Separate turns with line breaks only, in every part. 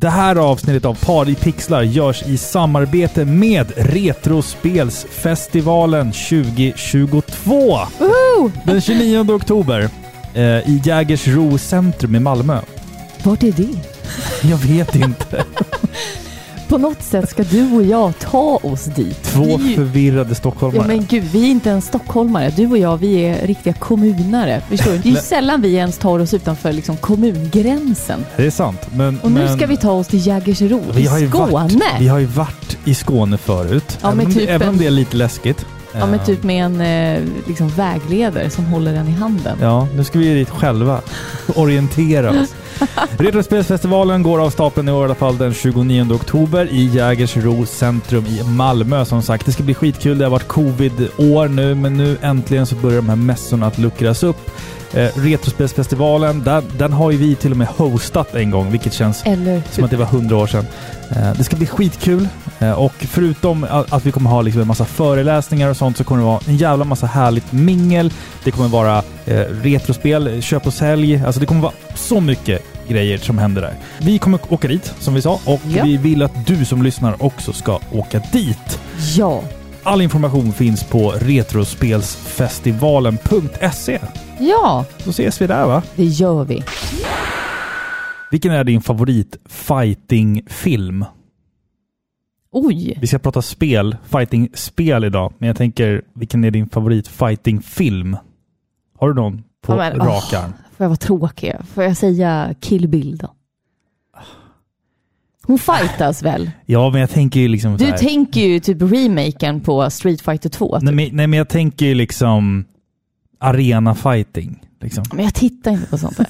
Det här avsnittet av Par i pixlar görs i samarbete med Retrospelsfestivalen 2022.
Woho!
Den 29 oktober eh, i Jägersro centrum i Malmö.
Vart är det?
Jag vet inte.
På något sätt ska du och jag ta oss dit.
Två
Vi-
förvirrade
Ja
stockholmare.
men gud, vi är inte ens stockholmare. Du och jag, vi är riktiga kommunare. Förstår du? Det är ju
Nej.
sällan vi ens tar oss utanför liksom, kommungränsen.
Det är sant. Men,
Och nu
men
ska vi ta oss till Jägersro i
vi har ju Varit, vi
Skåne.
har ju varit i Skåne förut.
Ja, men
även, om
typ
det, även om
en-
det är lite läskigt.
Ja men typ med en eh, liksom, vägledare som håller den i handen.
Ja, nu ska vi dit själva. Orientera oss. Retrospelsfestivalen går av stapeln i år i alla fall den 29 oktober i Jägersro centrum i Malmö som sagt. Det ska bli skitkul. Det har varit covid-år nu, men nu äntligen så börjar de här mässorna att luckras upp. Eh, Retrospelsfestivalen, den, den har ju vi till och med hostat en gång, vilket känns
Eller
som att det
hur?
var hundra år sedan. Eh, Det ska bli skitkul Eh, och förutom a- att vi kommer ha liksom en massa föreläsningar och sånt så kommer det vara en jävla massa härligt mingel. Det kommer vara eh, retrospel, köp och sälj. Alltså det kommer vara så mycket grejer som händer där. Vi kommer åka dit som vi sa och
Ja.
vi vill att du som lyssnar också ska åka dit.
Ja.
All information finns på retrospelsfestivalen.se.
Ja,
Så ses vi där va?
det gör vi.
Vilken är din favorit fighting-film?
Oj.
Vi ska prata spel, fighting-spel idag, men jag tänker, vilken är din favorit fighting-film? Har du någon på
Ja, men,
rak arm?
Får jag vara tråkig? Får jag säga Kill Bill då? Hon fightas väl?
Ja, men jag tänker ju liksom så
Du
här,
tänker ju typ remaken på Street Fighter 2.
nej, men, nej, men jag tänker ju liksom arena-fighting. Liksom.
Men jag tittar inte på sånt där.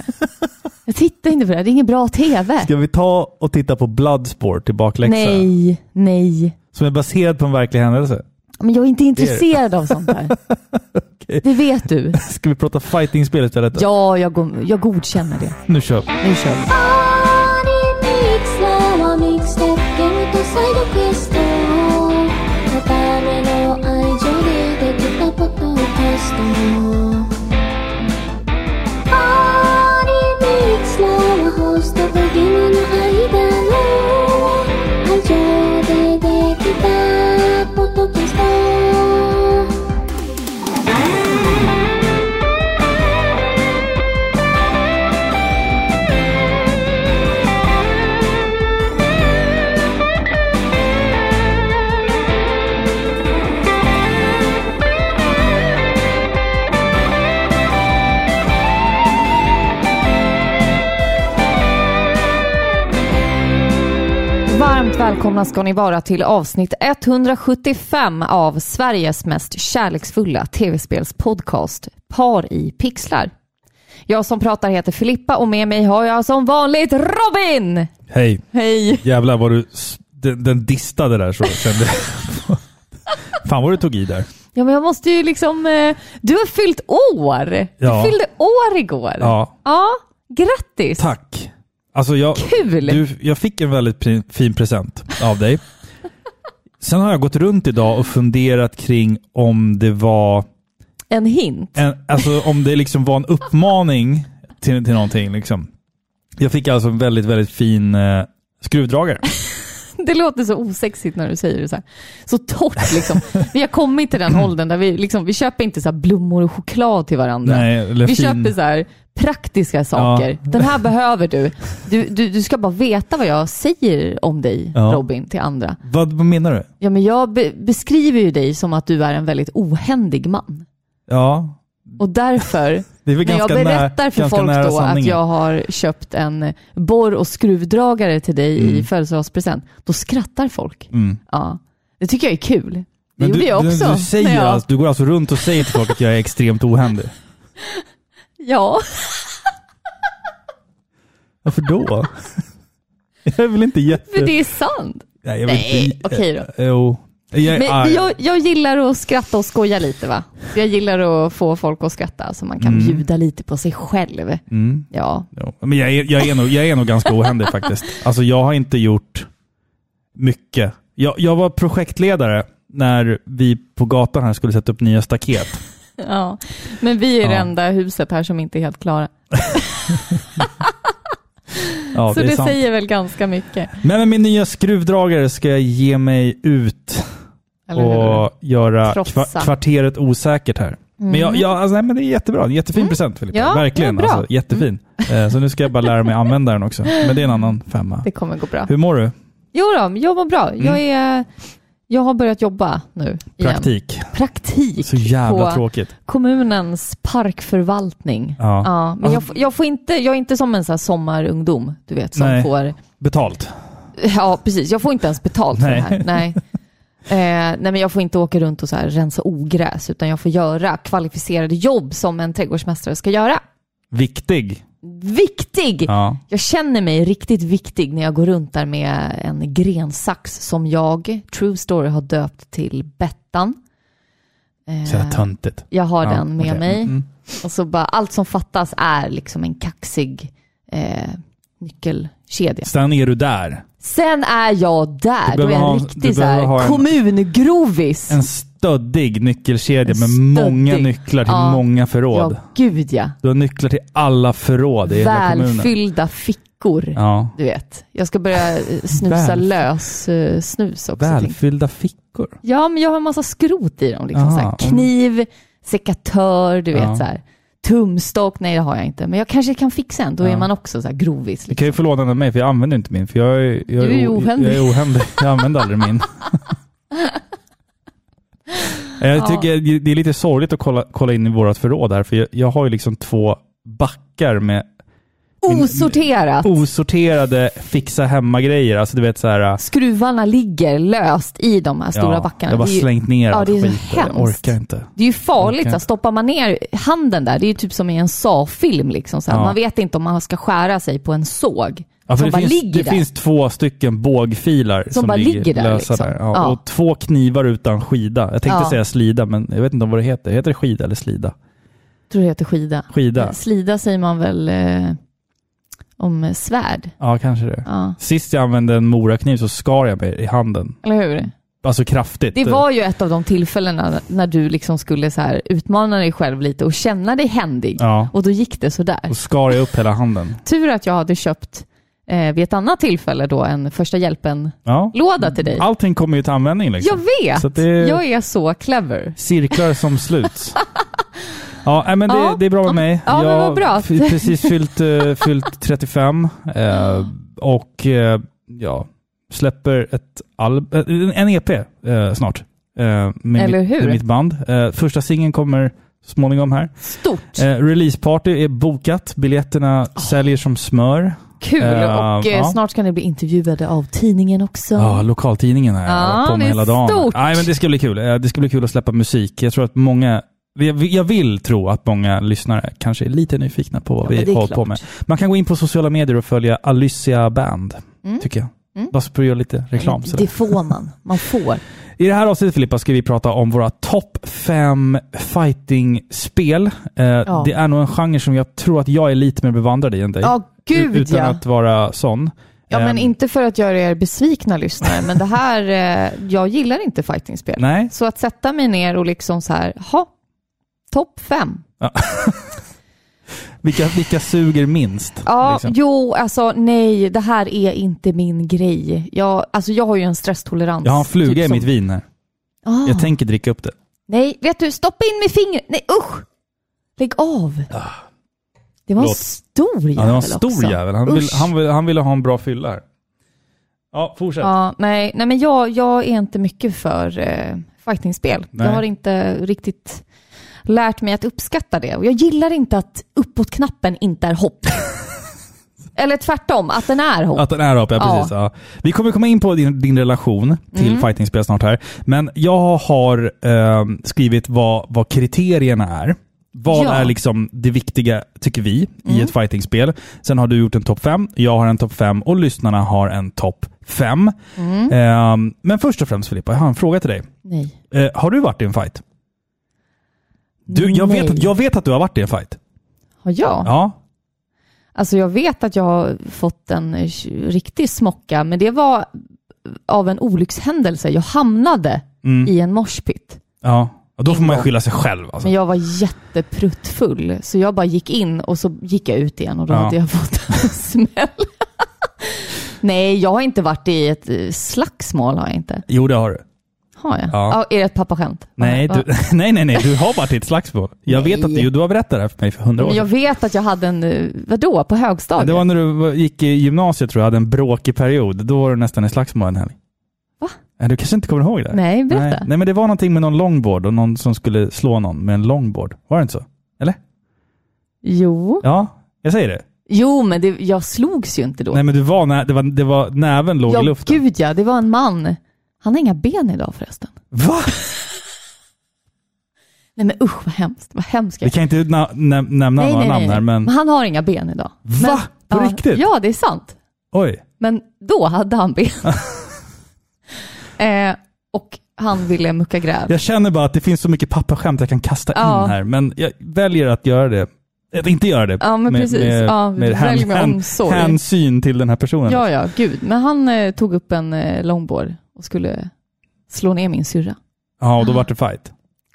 Jag tittar inte på det. här. Det är ingen bra TV.
Ska vi ta och titta på Bloodsport till bakläxa?
Nej, nej.
Som är baserad på en verklig händelse.
Men jag är inte intresserad av sånt där. Det vet du.
Ska vi prata fighting-spel istället?
Ja, jag, go- jag godkänner det.
Nu kör vi.
Nu kör vi.
パーリミックスなはミックスでゲームとサイドクエストのための愛情でできたポッドキャストパーリミックスなはホストとゲームの間の愛情でできたポッドキャスト
Varmt välkomna ska ni vara till avsnitt 175 av Sveriges mest kärleksfulla tv-spelspodcast Par i pixlar. Jag som pratar heter Filippa och med mig har jag som vanligt Robin!
Hej.
Hej!
Jävlar vad du... s- Den, den distade där så jag kände Fan vad du tog i där.
Ja men jag måste ju liksom... eh, Du har fyllt år!
Ja.
Du fyllde år igår!
Ja.
ja grattis!
Tack! Alltså jag,
Kul!
Du, jag fick en väldigt pri- fin present av dig. Sen har jag gått runt idag och funderat kring om det var
En hint.
en, alltså om det liksom var en uppmaning till, till någonting. Liksom. Jag fick alltså en väldigt, väldigt fin eh, skruvdragare.
Det låter så osexigt när du säger det så här. Så torrt liksom. Vi har kommit till den åldern där vi, liksom, vi köper inte så här blommor och choklad till varandra.
Nej, eller
vi
fin.
köper så här praktiska saker. Den här behöver du. Du, du. du ska bara veta vad jag säger om dig,
Ja.
Robin, till andra.
Vad, vad menar du?
Ja, men jag be- beskriver ju dig som att du är en väldigt ohändig man.
Ja,
Och därför,
det är väl
när jag
ganska
berättar
nära,
för
ganska
folk
nära
då att
sanningen.
jag har köpt en eh, borr och skruvdragare till dig i födelsedagspresent, då skrattar folk.
Mm.
Ja, det tycker jag är kul. Det
Men
gjorde
du,
jag också.
Du, du,
när
säger,
jag,
alltså, du går alltså runt och säger till folk att jag är extremt ohändig.
Ja,
Varför då? Jag är väl inte jätte...
för det är sant.
Nej, jag
Nej, okej då.
Eh, Jo. Jag,
Men
ah,
jag, jag gillar att skratta och skoja lite va? Jag gillar att få folk att skratta så man kan bjuda lite på sig själv.
mm,
Ja,
jo. Men jag, är, jag, är nog, jag är nog ganska ohändig faktiskt. Alltså jag har inte gjort mycket. Jag, jag var projektledare när vi på gatan här skulle sätta upp nya staket.
ja. Men vi är
Ja.
det enda huset här som inte är helt klara.
Ja,
så
det är
det
sant.
säger väl ganska mycket.
Men med min nya skruvdragare ska jag ge mig ut
Eller hur?
och göra
Krossa.
kva- kvarteret osäkert här. Men, jag, jag, alltså, nej, men det är jättebra. En jättefin present Filippa.
Mm. Ja,
Verkligen.
ja, bra. Mm.
Alltså, jättefin. Eh, Så nu ska jag bara lära mig använda den också. Men det är en annan femma.
Det kommer gå bra.
Hur mår du?
Jo då, jag mår bra. Jag, är, jag har börjat jobba nu igen.
Mm. Praktik.
Praktik
Så jävla
på
tråkigt.
kommunens parkförvaltning.
Ja.
Ja, men jag, f- jag, får inte, jag är inte som en så här sommarungdom, du vet, som
Nej.
får...
Betalt.
Ja, precis. Jag får inte ens betalt för
Nej.
det här. Nej. Eh, nej, men jag får inte åka runt och så här rensa ogräs, utan jag får göra kvalificerade jobb som en trädgårdsmästare ska göra.
Viktig.
Viktig!
Ja.
Jag känner mig riktigt viktig när jag går runt där med en grensax som jag, true story, har döpt till Bettan. Eh,
Så jävla töntigt.
jag har
Ja,
den med
okej.
mig.
Mm, mm.
Och så bara, allt som fattas är liksom en kaxig eh, nyckelkedja.
Sen är du där.
Sen är jag där.
Du
Då är jag
behöver
en
ha- du
riktig så
behöver ha
här,
en-
kommungrovis.
En stöddig nyckelkedja
En
med många
stöddig.
nycklar till
Ja.
många förråd.
ja, gud ja.
Du har nycklar till alla förråd i hela kommunen.
Välfyllda fickor.
Ja.
Du vet, jag ska börja eh, snusa
Väl-
lös eh, snus också. tänkte jag.
Välfyllda fickor.
Ja, men jag har en massa skrot i dem. Liksom,
Ah,
så här,
om-
kniv, sekatör, du
Ja.
vet. Så här. Tumstock, nej det har jag inte. Men jag kanske kan fixa en. Då
Ja.
är man också så här grovis.
Du kan
Liksom.
ju få låna den av mig, för jag använder inte min. För jag är, jag
Du är ju
o-
ohändig.
Jag är ohändig. Jag använder aldrig min. jag tycker det är lite sorgligt att kolla, kolla in i vårt förråd här, för jag, jag har ju liksom två backar med min- Oh.
Osorterat.
osorterade fixa hemma-grejer. Alltså du vet så här...
Skruvarna ligger löst i de här stora backarna.
Jag har bara
det, är ju,
slängt ner
ja,
allt
det är så
skit. Jag
hemskt.
orkar inte.
det är ju farligt.
Okej.
Så här, stoppar man ner handen där, det är ju typ som i en sawfilm. Liksom, så här.
Ja.
Man vet inte om man ska skära sig på en såg
Ja, för
som
det
bara
finns,
ligger
det
där.
finns två stycken bågfilar som,
bara ligger där,
lösa
liksom.
där. Ja,
Ja.
Och två knivar utan skida. Jag tänkte
Ja.
säga slida, men jag vet inte om vad det heter. Heter det skida eller slida?
tror det heter skida.
Skida.
Slida säger man väl eh, om svärd?
Ja, kanske det.
Ja.
Sist jag använde en morakniv så skar jag mig i handen.
Eller hur?
Alltså kraftigt.
Det var ju ett av de tillfällena när du liksom skulle så här utmana dig själv lite och känna dig händig.
Ja,
Och då gick det sådär.
och skar jag upp hela handen.
Tur att jag hade köpt eh, vid ett annat tillfälle då en första hjälpen-låda
Ja.
till dig.
Allting kommer ju till användning liksom.
Jag vet!
Så att det-
Jag är så clever.
Cirklar som sluts. Ja, nej, men det,
Ja.
det är bra med mig.
Ja, men
jag
vad bra.
har f- precis fyllt, eh, fyllt 35 eh, och eh, ja, släpper ett al- eh, en- en EP eh, snart. eh, med
Eller
mitt,
hur?
Med mitt band. Eh, första singeln kommer småningom här.
Stort.
Eh, releaseparty är bokat. Biljetterna
Ah.
säljer som smör.
Kul!
eh,
och eh,
ja.
snart ska ni bli intervjuade av tidningen också.
Ja, lokaltidningen här.
Ja,
Jag har på med
det är
hela dagen.
stort.
Nej, men det ska bli kul. Eh, Det ska bli kul att släppa musik. Jag tror att många jag vill- jag vill tro att många lyssnare kanske är lite nyfikna på vad
men det
vi
är
har
klart.
på med. Man kan gå in på sociala medier och följa Alicia Band,
Mm.
tycker jag.
Mm.
Bara så för att göra lite reklam.
det
sådär.
får man. Man får.
I det här avsnittet Filippa ska vi prata om våra topp fem fighting-spel. Eh, Det är nog en genre som jag tror att jag är lite mer bevandrad i än dig.
Ja, gud
U- Utan
ja.
att vara sån.
Ja, men
Ehm,
inte för att göra er besvikna lyssnare, men det här, eh, jag gillar inte fightingspel.
Nej,
Så att sätta mig ner och liksom så här, ha, topp fem.
vilka, vilka suger minst?
Ja,
liksom?
jo, alltså nej, det här är inte min grej. Jag, alltså, jag har ju en stresstolerans.
Jag har en fluga
typ
i
som-
mitt vin här.
Ah,
Jag tänker dricka upp det.
Nej, vet du, stoppa in med fingret. Nej, usch! Lägg av. Det var en
Förlåt.
stor jävel
Ah. Ja, det var en stor
också.
jävel. Han, vill,
Usch.
han, vill, han ville ha en bra fylla här. Ja, fortsätt.
Ja, nej, nej, men jag, jag är inte mycket för eh, fightingspel.
Nej.
Jag har inte riktigt lärt mig att uppskatta det. Och jag gillar inte att uppåt-knappen inte är hopp. Eller tvärtom, att den är hopp.
Att den är apa, ja,
Ja. Mm.
precis. Ja. Vi kommer komma in på din, din relation till fightingspel snart här. Men jag har ehm, skrivit vad, vad kriterierna är. Vad
Ja. Mm.
är liksom det viktiga, tycker vi, i ett fightingspel? Sen har du gjort en topp fem, jag har en topp fem och lyssnarna har en topp fem.
Mm.
Ehm, men först och främst Filippa, jag har en fråga till dig.
Nej.
Eh, har du varit i en fight? Du, jag,
Nej.
vet att, jag vet att du har varit i en fight.
Har jag?
Ja.
Alltså jag vet att jag har fått en eh, riktig smocka, men det var av en olyckshändelse. Jag hamnade
Mm.
i en moshpit.
ja. Och då får man ju skylla sig själv alltså.
Men jag var jättepruttfull, så jag bara gick in och så gick jag ut igen och då
Ja.
hade jag fått en smäll. Nej, jag har inte varit i ett eh, slagsmål. Har jag inte.
Jo, det har du.
Har jag?
Ja.
Ja. är det ett pappaskämt?
Nej,
Va?
du, nej, nej, nej. Du har varit i ett slagsmål. Jag vet
Nej.
att du, du har berättat det här för mig för hundra år
Men jag
sedan.
vet att jag hade en, eh, vadå, på högstadiet?
Det var när du var- gick i gymnasiet tror jag, hade en bråkig period. Då var du nästan i slagsmål en helg.
Va?
Nej, Du kanske inte kommer ihåg det?
Nej, berätta.
Nej, nej, men det var någonting med någon longboard och någon som skulle slå någon med en longboard. Var det inte så? Eller?
Jo.
Ja, jag säger det.
jo, men det, jag slogs ju inte då.
Nej, men du var, nä- det var, det var näven låg
ja,
i luften.
gud ja, det var en man. Han har inga ben idag förresten.
Va?
Nej men usch vad hemskt, vad hemskt.
Vi kan inte na- näm- nämna
nej,
några
nej,
namn
nej.
här, men...
han har inga ben idag.
Va? På
ja,
riktigt?
Ja, det är sant.
Oj.
Men då hade han ben. eh, och han ville mucka gräv.
Jag känner bara att det finns så mycket pappaskämt jag kan kasta
Ja.
in här, men jag väljer att göra det. Att inte göra det.
Ja, men precis. Ja,
med
du
hän-
väljer med
hän-
omsorg.
hänsyn till den här personen.
Ja, ja, gud. Men han eh, tog upp en eh, longboard och skulle slå ner min syrra.
Ja, och då vart det fight.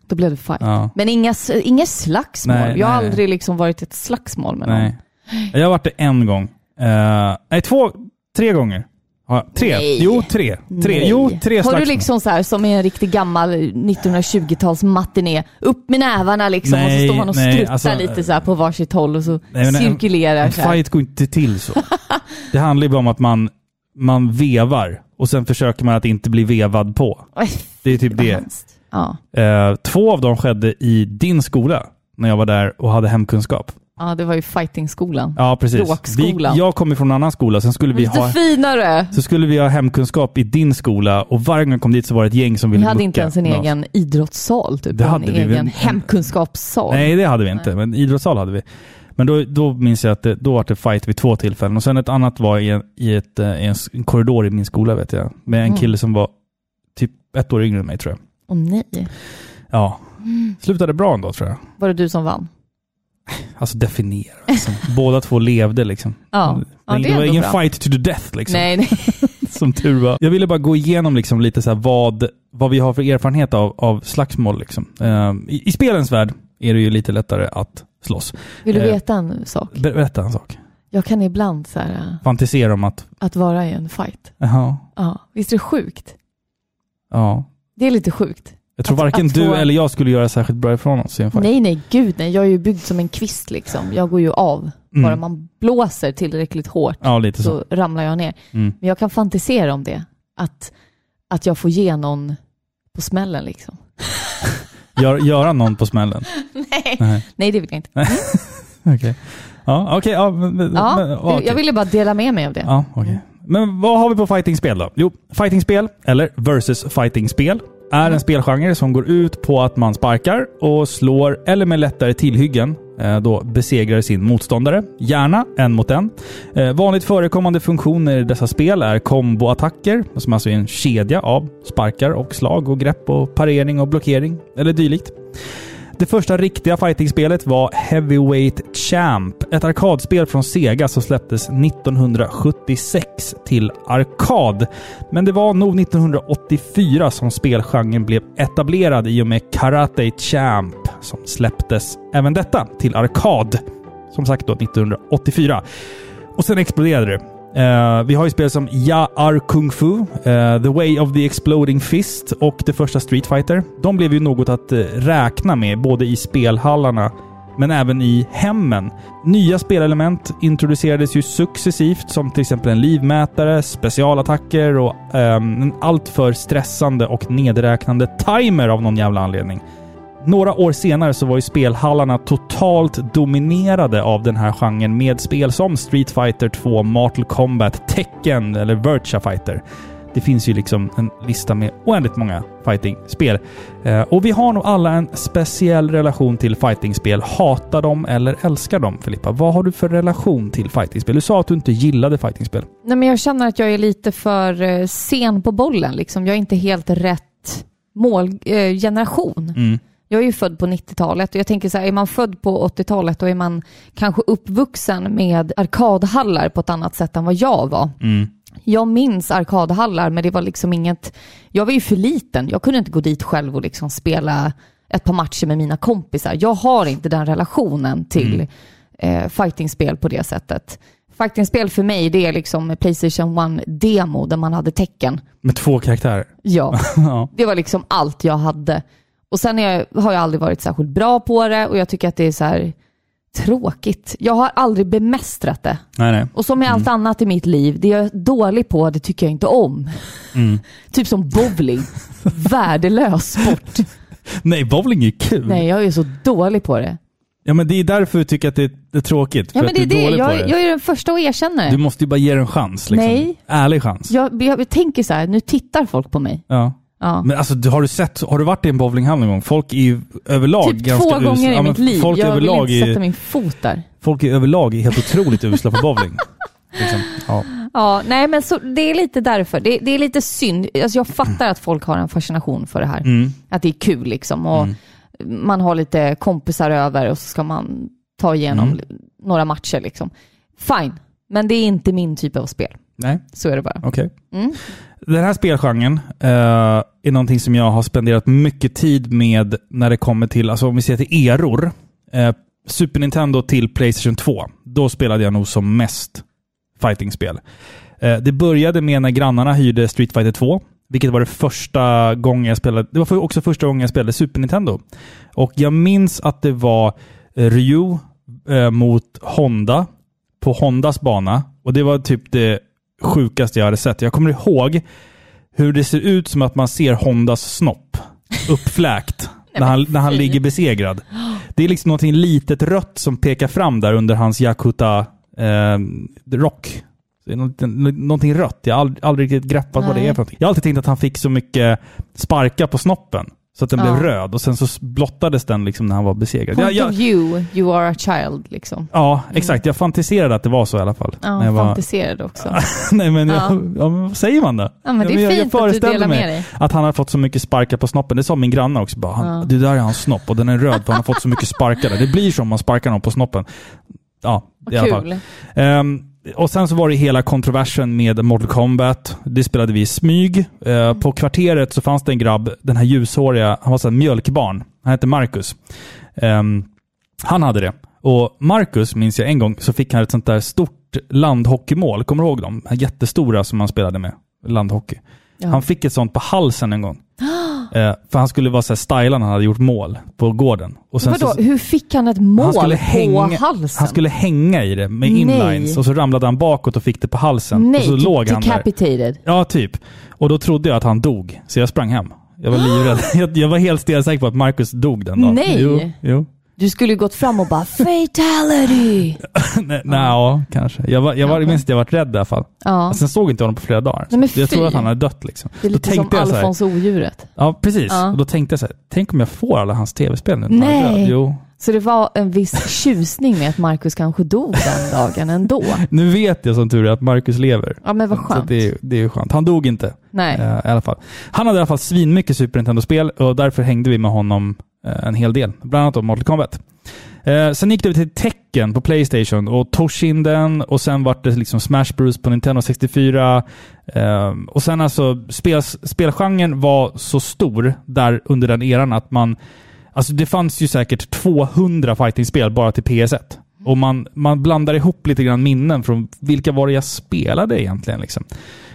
Då blev det fight.
Ja.
Men inga, s- inga slagsmål.
Nej,
jag har
nej.
aldrig liksom varit i ett slagsmål med någon.
Nej. Jag har varit det en gång. Eh, nej, två, tre gånger. Ja, tre.
Nej.
Jo, tre. tre.
Nej.
Jo, tre
Har
slagsmål.
du liksom så här som i en riktig gammal 1920-tals matiné, upp med nävarna liksom och så
Nej,
står man och
nej,
struttar
alltså,
lite så här på varsitt håll och så
Nej, men en-
cirkulerar
En
så här.
fight går inte till så. det handlar ju bara om att man, man vevar och sen försöker man att inte bli vevad på.
Oj,
Det är typ
vad
det.
hemskt. Ja.
Eh, två av dem skedde i din skola när jag var där och hade hemkunskap.
ja, det var ju fightingskolan.
Ja, precis. Vi,
Språkskolan.
jag kom ifrån en annan skola, sen skulle vi
Lite
ha...
finare!
Så skulle vi ha hemkunskap i din skola och varje gång jag kom dit så var det ett gäng som ville
Ni hade
mucka
inte ens en
med oss.
egen idrottssal, typ.
Det
en
hade vi väl-
egen hemkunskapssal.
Nej, det hade vi inte. Men idrottssal hade vi. Men då, då minns jag att det, då var det fight vid två tillfällen. Och sen ett annat var i en, i ett, eh, i en, s- en korridor i min skola, vet jag. Med en
Mm.
kille som var typ ett år yngre än mig, tror jag.
Åh nej.
Ja.
Mm.
Slutade bra ändå, tror jag.
Var det du som vann?
Alltså definiera. Liksom. Båda två levde liksom.
Ja, ja
det,
det är
var
ändå
ingen
bra.
fight to the death liksom.
Nej, nej.
Som tur var. Jag ville bara gå igenom liksom, lite så här vad, vad vi har för erfarenhet av, av slagsmål. Liksom. Ehm, i, I spelens värld är det ju lite lättare att slåss.
Vill du
Eh.
veta en sak?
Ber- Berätta en sak.
Jag kan ibland så här, äh,
Fantisera om att...
att vara i en fight.
Jaha.
Ja. Visst är det sjukt?
Ja.
Det är lite sjukt.
Jag tror
Att-
varken
att
du
få-
eller jag skulle göra särskilt bra ifrån oss i en fight.
Nej, nej, gud nej. Jag är ju byggd som en kvist liksom. Jag går ju av.
Mm.
Bara man blåser tillräckligt hårt
Ja, lite så.
så ramlar jag ner.
Mm.
Men jag kan fantisera om det. Att, att jag får ge någon på smällen liksom.
Gör, göra någon på smällen.
Nej,
Nej.
nej det vill jag inte.
Okej. Ja, okej. ja, men- men- men-
Ja,
ja, okej.
Jag ville bara dela med mig av det.
Ja, okej. Men vad har vi på fightingspel då? Jo, fightingspel, eller versus fightingspel, är en spelgenre som går ut på att man sparkar och slår, eller med lättare tillhyggen, eh, då besegrar sin motståndare. Gärna en mot en. Eh, Vanligt förekommande funktioner i dessa spel är komboattacker, som alltså är en kedja av sparkar och slag och grepp och parering och blockering, eller dylikt. Det första riktiga fightingspelet var Heavyweight Champ, ett arkadspel från Sega som släpptes 1976 till arkad. Men det var nog 1984 som spelgenren blev etablerad i och med Karate Champ som släpptes även detta till arkad. Som sagt då 1984. Och sen exploderade det. Eh, vi har ju spel som Ja Ar Kung Fu, eh, The Way of the Exploding Fist och det första Street Fighter. De blev ju något att eh, räkna med både i spelhallarna men även i hemmen. Nya spelelement introducerades ju successivt som till exempel en livmätare, specialattacker och ehm, en alltför stressande och nedräknande timer av någon jävla anledning. Några år senare så var ju spelhallarna totalt dominerade av den här genren med spel som Street Fighter 2, Mortal Kombat, Tekken eller Virtua Fighter. Det finns ju liksom en lista med oändligt många fighting-spel. Eh, och vi har nog alla en speciell relation till fighting-spel. Hatar dem eller älskar dem, Filippa? Vad har du för relation till fighting-spel? Du sa att du inte gillade fighting-spel.
Nej, men jag känner att jag är lite för eh, sen på bollen. Liksom. Jag är inte helt rätt mål, eh, generation.
Mm.
Jag är ju född på 90-talet och jag tänker så här, är man född på 80-talet då är man kanske uppvuxen med arkadhallar på ett annat sätt än vad jag var. Jag minns arkadhallar men det var liksom inget, jag var ju för liten, jag kunde inte gå dit själv och liksom spela ett par matcher med mina kompisar. Jag har inte den relationen till eh, fightingspel på det sättet. Fightingspel för mig, det är liksom Playstation 1-demo där man hade tecken.
Med två karaktärer.
Ja,
Ja.
det var liksom allt jag hade. Och sen är jag, har jag aldrig varit särskilt bra på det och jag tycker att det är så här tråkigt. Jag har aldrig bemästrat det.
Nej, nej.
Och som med allt annat i mitt liv, det jag är dålig på, det tycker jag inte om. typ som bowling. Värdelös sport.
Nej, bowling är kul.
Nej, jag är så dålig på det.
Ja, men det är därför du tycker att det är, det är tråkigt. för
Ja, men
att
det är
du är
det.
dålig på det.
Jag, jag är den första att erkänna
Du
det.
måste ju bara ge det en chans. Liksom.
Eh. Nej.
Ärlig chans.
Jag, jag, jag tänker så här, nu tittar folk på mig.
Ja.
Ja.
Men alltså, du- har du sett, har du varit i en bowlinghall någon gång? Folk är ju överlag
Typ
ganska
två
usla.
gånger
Ja,
i
men
mitt liv.
Folk,
Jag vill
överlag
inte
är,
sätta min fot där.
folk är överlag är helt otroligt usla på bowling. Liksom. Ja.
Ja, nej men så, det är lite därför. Det, det är lite synd. Alltså, jag fattar att folk har en fascination för det här.
Mm.
Att det är kul liksom. Och Man har lite kompisar över och så ska man ta igenom li-
Mm.
några matcher liksom. Fine, men det är inte min typ av spel.
Nej,
Så är det bara. Mm.
okej. Den här spelgenren eh, är någonting som jag har spenderat mycket tid med när det kommer till, alltså om vi ser till eror. Eh, Super Nintendo till Playstation 2. Då spelade jag nog som mest fightingspel. Eh, det började med när grannarna hyrde Street Fighter 2. Vilket var det första gången jag spelade. Det var för- också första gången jag spelade Super Nintendo. Och jag minns att det var eh, Ryu eh, mot Honda på Hondas bana. Och det var typ det sjukaste jag hade sett. Jag kommer ihåg hur det ser ut som att man ser Hondas snopp uppfläkt när han, när han ligger besegrad. Det är liksom någonting litet rött som pekar fram där under hans Yakuta eh, rock. Det är något- någonting rött. Jag har aldrig, aldrig riktigt greppat vad det är för
Nej.
någonting. Jag har alltid tänkt att han fick så mycket sparka på snoppen så att den
Ja.
blev röd och sen så s- blottades den liksom när han var besegrad.
Point
Jag, jag,
of view, you are a child liksom.
ja, exakt. Jag fantiserade att det var så i alla fall.
Ja,
när jag var,
fantiserade också.
Nej men,
Ja.
jag, ja, men vad säger man då?
Ja, men det är
jag,
fint att du delar med dig.
att han har fått så mycket sparkar på snoppen. Det sa min granne också. Bara, han,
Ja.
Det där är hans snopp och den är röd för han har fått så mycket sparkar. där. Det blir så om man sparkar någon på snoppen. Ja, i alla fall.
Kul.
Ehm, och sen så var det hela kontroversen med Mortal Kombat. Det spelade vi i smyg. Eh, På kvarteret så fanns det en grabb, den här ljushåriga, han var så här mjölkbarn. Han hette Marcus. Ehm, han hade det. Och Marcus, minns jag en gång, så fick han ett sånt där stort landhockeymål. Kommer du ihåg dem? De här jättestora som han spelade med. Landhockey. Han fick ett sånt på halsen en gång. Eh, för han skulle vara så här stylad när han hade gjort mål på gården. Och sen
Vadå,
så-
hur fick han ett mål
han skulle,
på
hänga,
halsen?
han skulle hänga i det med inlines
Nej.
och så ramlade han bakåt och fick det på halsen.
Nej,
och så låg han där.
decapitated.
Ja, typ. Och då trodde jag att han dog, så jag sprang hem. Jag var livrädd. Jag, jag var helt stensäker på att Marcus dog den dagen.
Nej.
Jo, jo.
Du skulle ju gått fram och bara fatality.
Nej, nej, ja, kanske. Jag, var, jag, var, jag minns att jag var rädd i alla fall.
Ja.
Sen såg jag inte honom på flera dagar.
Nej, men
jag
fy.
trodde att han hade dött. Liksom.
Det är lite som
jag så här,
Alfons odjuret.
Ja, precis.
Ja.
Och då tänkte jag så här, tänk om jag får alla hans tv-spel nu när han är
Nej.
död. Jo.
Så det var en viss tjusning med att Marcus kanske dog den dagen ändå.
Nu vet jag som tur är att Marcus lever.
Ja men vad
Så att
skönt.
det, är- det är ju skönt. Han dog inte.
Nej.
Eh, i alla fall. Han hade i alla fall svinmycket Super Nintendo-spel och därför hängde vi med honom eh, en hel del. Bland annat om Mortal Kombat. Eh, sen gick det till Tekken på Playstation och Toshinden och sen vart det liksom Smash Bros på Nintendo 64. Eh, och sen alltså, spels, spelgenren var så stor där under den eran att man... Alltså det fanns ju säkert 200 fightingspel bara till PS1. Och man, man blandar ihop lite grann minnen från vilka var det jag spelade egentligen. Liksom.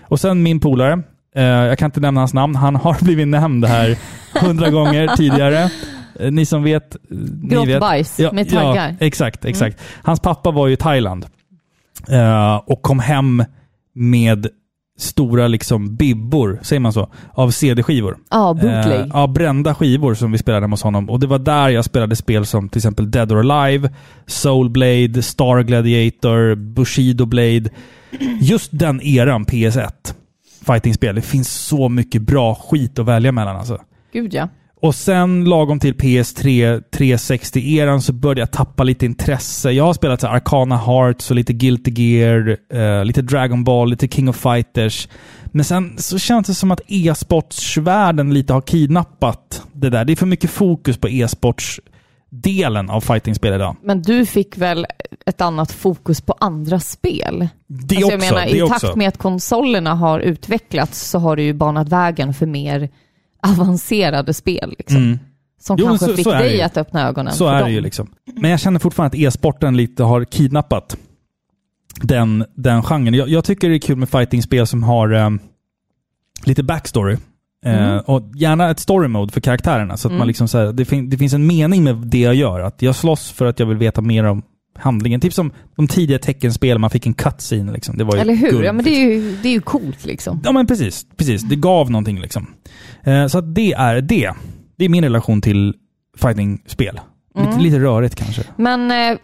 Och sen min polare, eh, jag kan inte nämna hans namn, han har blivit nämnd här hundra gånger tidigare. Eh, Ni som vet, eh, ni vet.
Grottbajs med taggar. Mm.
Ja, exakt, exakt. Hans pappa var ju i Thailand eh, och kom hem med stora liksom bibbor, säger man så, av CD-skivor.
Ja, bootleg.
Eh, ja, brända skivor som vi spelade hemma hos honom. Och det var där jag spelade spel som till exempel Dead or Alive, Soul Blade, Star Gladiator, Bushido Blade. Just den eran PS1 fightingspel. Det finns så mycket bra skit att välja mellan alltså.
Gud ja.
Och sen lagom till PS3 360-eran så började jag tappa lite intresse. Jag har spelat så här Arcana Hearts och lite Guilty Gear, eh, lite Dragon Ball, lite King of Fighters. Men sen så känns det som att e-sportsvärlden lite har kidnappat det där. Det är för mycket fokus på e-sportsdelen av fightingspel idag.
Men du fick väl ett annat fokus på andra spel?
Det
Alltså, jag
också.
menar,
det
i
också.
takt med att konsolerna har
Mm.
utvecklats så har det ju banat vägen för mer avancerade spel. Liksom. Som
Jo, men
kanske
så-
fick
så är det
dig
ju.
att öppna ögonen
Så
för
är
dem.
det ju liksom. Men jag känner fortfarande att e-sporten lite har kidnappat den, den genren. Jag, jag tycker det är kul med fightingspel som har eh, lite backstory. Eh,
Mm.
och gärna ett story mode för karaktärerna. Så att man liksom så här, det, fin- det finns en mening med det jag gör. Att jag slåss för att jag vill veta mer om handlingen. Typ som de tidiga teckenspel man fick en cutscene. Liksom. Det var ju
Eller hur?
guld,
Ja, men det är, ju, det är ju coolt liksom.
Ja men precis, precis. Det gav någonting liksom. Eh, så att det är det. Det är min relation till fighting-spel.
Mm.
Lite, lite rörigt kanske.
Men eh,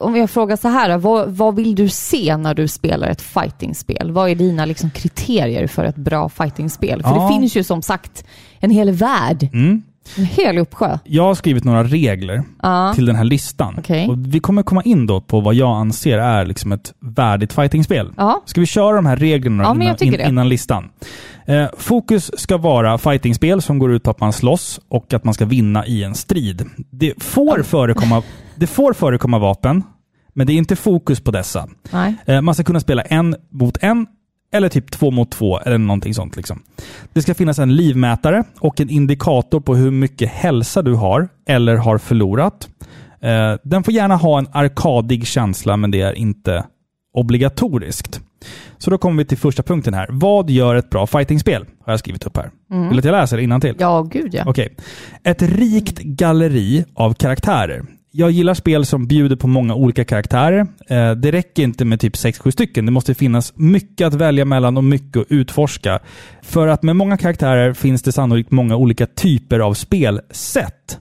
om jag frågar så här, då, vad, vad vill du se när du spelar ett fightingspel? Vad är dina liksom, kriterier för ett bra fightingspel? För
Ja.
det finns ju som sagt en hel värld,
Mm.
en hel uppsjö.
Jag har skrivit några regler
Ja.
till den här listan.
Okej.
Och vi kommer komma in då på vad jag anser är liksom ett värdigt fightingspel.
Ja.
Ska vi köra de här reglerna
Ja, men
innan,
jag tycker det.
innan listan? Eh, fokus ska vara fightingspel som går ut på att man slåss och att man ska vinna i en strid. Det får förekomma, det får förekomma vapen, men det är inte fokus på dessa.
Nej.
Eh, Man ska kunna spela en mot en, eller typ två mot två, eller någonting sånt. Liksom. Det ska finnas en livmätare och en indikator på hur mycket hälsa du har, eller har förlorat. Eh, Den får gärna ha en arkadig känsla, men det är inte obligatoriskt. Så då kommer vi till första punkten här. Vad gör ett bra fightingspel? Har jag skrivit upp här. Vill du att jag läser innantill?
Ja, gud ja.
Okej. Ett rikt galleri av karaktärer. Jag gillar spel som bjuder på många olika karaktärer. Eh, Det räcker inte med typ 6-7 stycken. Det måste finnas mycket att välja mellan och mycket att utforska. För att med många karaktärer finns det sannolikt många olika typer av spelsätt.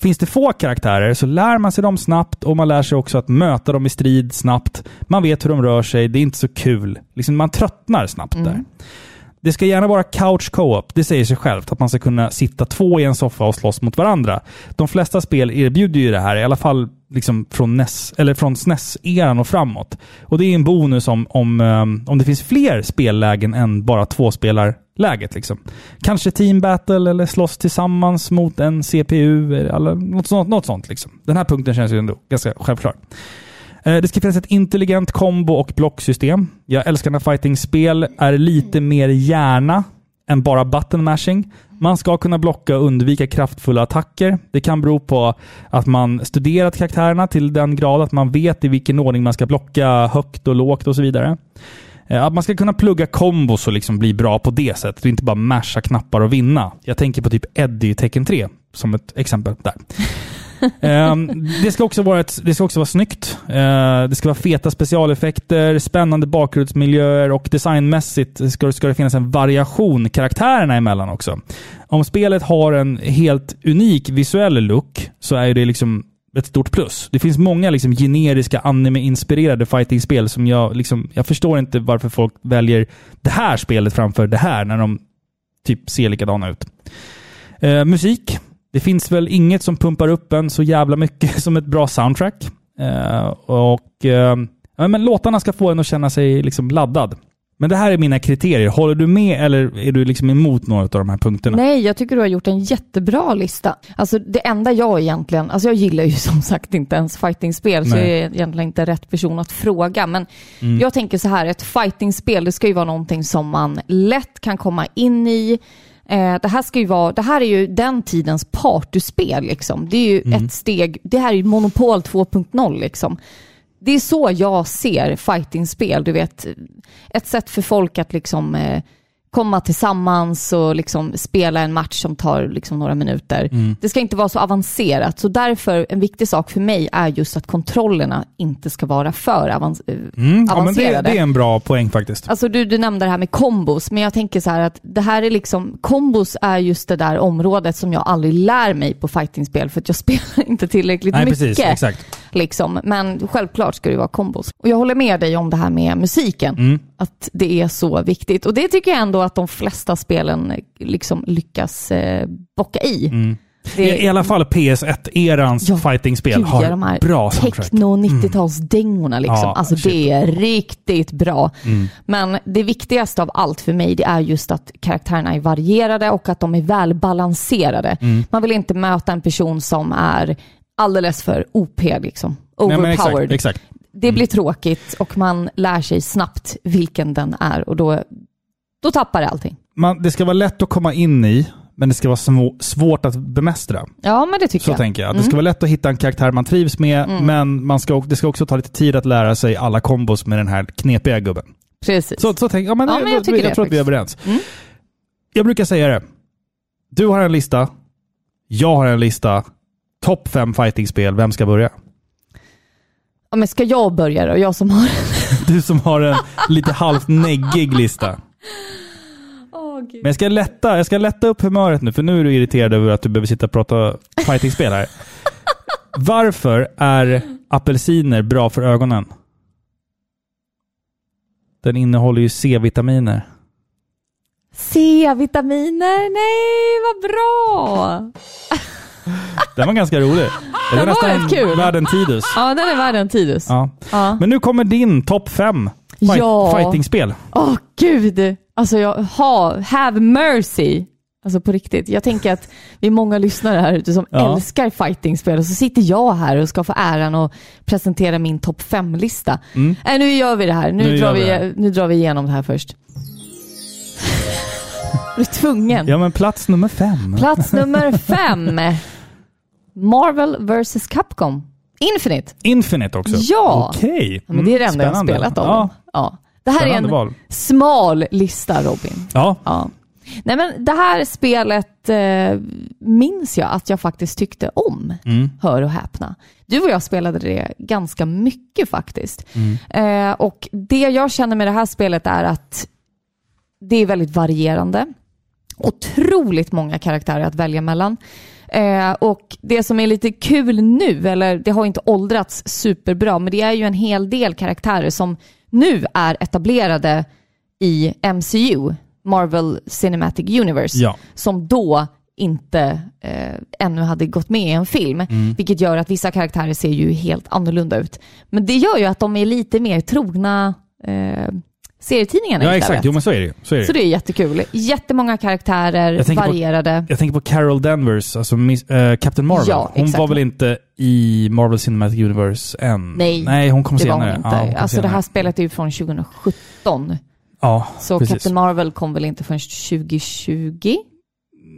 Finns det få karaktärer så lär man sig dem snabbt och man lär sig också att möta dem i strid snabbt. Man vet hur de rör sig, det är inte så kul. Liksom man tröttnar snabbt där. Det ska gärna vara couch co-op, det säger sig självt. Att man ska kunna sitta två i en soffa och slåss mot varandra. De flesta spel erbjuder ju det här, i alla fall liksom från, NES, eller från SNES-eran och framåt. Och det är en bonus om, om, ehm, om det finns fler spellägen än bara tvåspelarläget. Liksom. Kanske team battle eller slåss tillsammans mot en CPU eller något sånt. Något sånt liksom. Den här punkten känns ju ändå ganska självklar. Eh, Det ska finnas ett intelligent kombo och blocksystem. Jag älskar när fighting-spel är lite mer hjärna än bara button mashing. Man ska kunna blocka och undvika kraftfulla attacker. Det kan bero på att man studerat karaktärerna till den grad att man vet i vilken ordning man ska blocka högt och lågt och så vidare. Eh, Att man ska kunna plugga kombos och liksom bli bra på det sättet och inte bara masha knappar och vinna. Jag tänker på typ Eddie i Tekken 3 som ett exempel där. Ehm, det, ska också vara ett, det ska också vara snyggt. Eh, det ska vara feta specialeffekter, spännande bakgrundsmiljöer och designmässigt ska, ska det finnas en variation karaktärerna emellan också. Om spelet har en helt unik visuell look så är det liksom ett stort plus. Det finns många liksom generiska anime-inspirerade fighting-spel som jag liksom, jag förstår inte varför folk väljer det här spelet framför det här när de typ ser likadana ut. Eh, musik. Det finns väl inget som pumpar upp en så jävla mycket som ett bra soundtrack. Eh, och eh, ja, men Låtarna ska få en att känna sig liksom laddad. Men det här är mina kriterier. Håller du med eller är du liksom emot några av de här punkterna?
Nej, jag tycker du har gjort en jättebra lista. Alltså det enda jag egentligen, alltså jag gillar ju som sagt inte ens fightingspel så jag
Nej.
är egentligen inte rätt person att fråga. Men jag tänker så här, ett fightingspel det ska ju vara någonting som man lätt kan komma in i. Eh, det, här ska ju vara, det här är ju den tidens partyspel liksom. Det är ju ett steg, det här är ju Monopol 2.0 liksom. Det är så jag ser fightingspel. Du vet, ett sätt för folk att liksom eh, komma tillsammans och liksom spela en match som tar liksom några minuter.
Mm.
Det ska inte vara så avancerat, så därför en viktig sak för mig är just att kontrollerna inte ska vara för avan- eh,
Mm, ja, men det,
avancerade.
det är en bra poäng faktiskt.
Alltså du, du nämnde det här med kombos, men jag tänker så här att det här är liksom, kombos är just det där området som jag aldrig lär mig på fightingspel för att jag spelar inte tillräckligt
Nej,
mycket.
precis. Exakt.
Liksom. Men självklart ska det vara kombos. Och jag håller med dig om det här med musiken.
Mm.
Att det är så viktigt. Och det tycker jag ändå att de flesta spelen eh, liksom lyckas eh, bocka i.
Mm.
Det
I, I alla fall PS1-erans
Ja,
fightingspel
Gud, ja, de
har
här
bra soundtrack. Mm.
techno 90-talsdängorna liksom.
Ja,
alltså
shit. Mm.
det är riktigt bra. Men det viktigaste av allt för mig det är just att karaktärerna är varierade och att de är välbalanserade.
Mm.
Man vill inte möta en person som är alldeles för OP liksom.
Nej,
Overpowered.
men exakt, exakt.
Det blir tråkigt och man lär sig snabbt vilken den är och då, då tappar det allting.
Man, det ska vara lätt att komma in i, men det ska vara små, svårt att bemästra.
Ja, Mm. men det tycker
Så
jag.
tänker jag. Det ska vara lätt att hitta en karaktär man trivs med, men man ska, det ska också ta lite tid att lära sig alla kombos med den här knepiga gubben.
Precis.
Så, så tänk, ja, men
Ja,
det-
men jag tycker
jag
det Mm.
tror att vi är överens. Jag brukar säga det. Du har en lista. Jag har en lista. Topp fem fightingspel. Vem ska börja?
Ja, men ska jag börja då? Jag som har...
Du som har en lite halvt neggig lista.
Åh gud.
Men jag ska, lätta, jag ska lätta upp humöret nu, för nu är du irriterad över att du behöver sitta och prata fightingspel här. Varför är apelsiner bra för ögonen? Den innehåller ju C-vitaminer.
C-vitaminer, nej vad bra!
Den var ganska rolig. Det var
rätt kul.
världen Tidus.
Ja, den är värd en Tidus. Ja.
Ja.
Åh
Men nu kommer din topp fem fight,
Ja.
fightingspel.
gud! Alltså, jag, ha, have mercy! Alltså på riktigt. Jag tänker att vi är många lyssnare här ute som
Ja.
älskar fightingspel och så sitter jag här och ska få äran att presentera min topp fem-lista. Äh, nu gör vi det här. Nu,
Mm. Nu gör
drar
vi
vi,
det här.
nu drar vi igenom det här först. Du är tvungen.
Ja, men plats nummer fem.
Plats nummer fem. Marvel vs Capcom. Infinite.
Infinite också.
Ja.
Okej.
Ja, men det är det
Mm,
enda jag har
spännande.
spelat av
ja.
dem. ja. Det här är
Spännande
en
val.
smal lista Robin.
ja.
Ja. Nej, men det här spelet eh, minns jag att jag faktiskt tyckte om. Hör och häpna. Du och jag spelade det ganska mycket faktiskt. Eh, och Det jag känner med det här spelet är att det är väldigt varierande. Otroligt många karaktärer att välja mellan. Eh, och Det som är lite kul nu, eller det har inte åldrats superbra, men det är ju en hel del karaktärer som nu är etablerade i MCU, Marvel Cinematic Universe,
Ja.
som då inte eh, ännu hade gått med i en film.
Mm.
Vilket gör att vissa karaktärer ser ju helt annorlunda ut. Men det gör ju att de är lite mer trogna eh, serietidningarna
Ja,
istället.
exakt. Jo, men så är det ju. Så är det.
Så
ju.
det är jättekul. Jättemånga
Jag
karaktärer,
tänker på-
varierade.
Jag tänker på Carol Danvers, alltså Miss, eh, Captain Marvel.
Ja,
hon
exakt.
var väl inte i Marvel Cinematic Universe än?
Nej,
Nej hon kom
Det var
senare.
hon inte.
Ja, hon kom
alltså det
senare.
här spelet är ju från 2017.
Ja,
Så
precis.
Captain Marvel kom väl inte förrän 2020?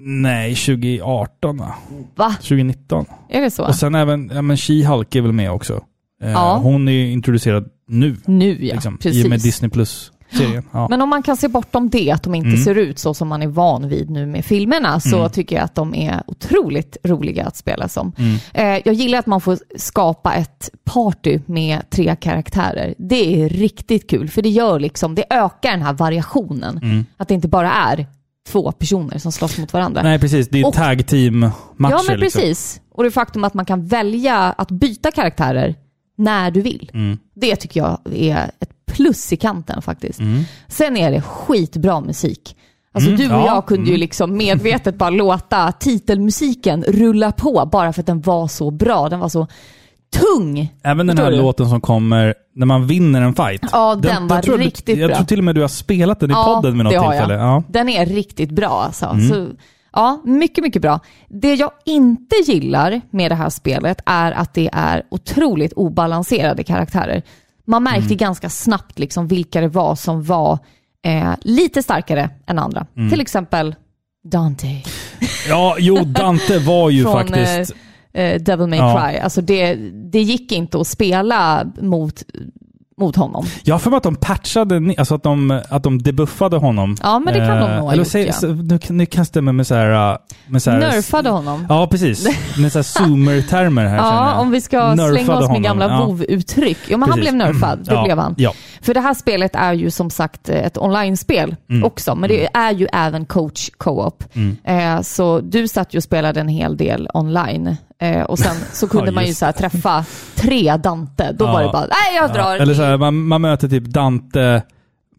Nej, 2018 va?
Va?
2019.
Är det så?
Och sen även, ja men She-Hulk är väl med också. Eh,
Ja.
Hon är ju introducerad nu,
nu ja,
liksom, i och med
precis.
Disney Plus-serien. Ja.
Men om man kan se bortom det, att de inte
Mm.
ser ut så som man är van vid nu med filmerna, så
Mm.
tycker jag att de är otroligt roliga att spela som.
Mm.
Eh, jag gillar att man får skapa ett party med tre karaktärer. Det är riktigt kul, för det gör liksom, det ökar den här variationen.
Mm.
Att det inte bara är två personer som slåss mot varandra.
Nej, precis. Det är
Och-
tag team-matcher.
ja, men
Liksom.
precis. Och det faktum att man kan välja att byta karaktärer när du vill.
Mm.
Det tycker jag är ett plus i kanten faktiskt. Sen är det skitbra musik. Alltså
Mm,
du och
ja.
jag kunde ju liksom medvetet bara låta titelmusiken rulla på bara för att den var så bra. Den var så tung.
Även den
Förstår
här
du?
låten som kommer när man vinner en fight.
Ja, den var
tror jag
riktigt
du, Jag
bra.
tror till och med du har spelat den i podden vid något
det har
tillfälle.
Jag.
Ja. Mm.
Den är riktigt bra alltså. Så, ja, mycket, mycket bra. Det jag inte gillar med det här spelet är att det är otroligt obalanserade karaktärer. Man märkte
Mm.
ganska snabbt liksom vilka det var som var eh, lite starkare än andra.
Mm.
Till exempel Dante
ja, jo, Dante var ju
från
faktiskt...
eh, eh, Devil May
Ja.
Cry. Alltså det, det gick inte att spela mot, mot honom.
Jag har för mig att de patchade, ni- alltså att de, att de debuffade honom. Eh,
Ja, men det kan de nog ha
eller
gjort,
säg,
ja.
så- nu, kan- nu kan jag stämma med så här... uh, Med så här
Nerfade honom.
Ja, precis. Med så här zoomer-termer här känner
Ja,
jag.
om vi ska
Nerfade
slänga oss
honom,
med gamla
ja.
vov-uttryck. Jo, men han
Precis. Mm.
blev nerfad, det
ja,
blev han.
Ja.
För det här spelet är ju som sagt ett online-spel
Mm.
också, men det är ju även coach co-op. Eh, så du satt ju och spelade en hel del online. Eh, och sen så kunde
Ja,
man ju
just
så här träffa tre Dante. Då
Ja.
var det bara, nej jag
Ja.
drar.
Eller så här, man, man möter typ Dante,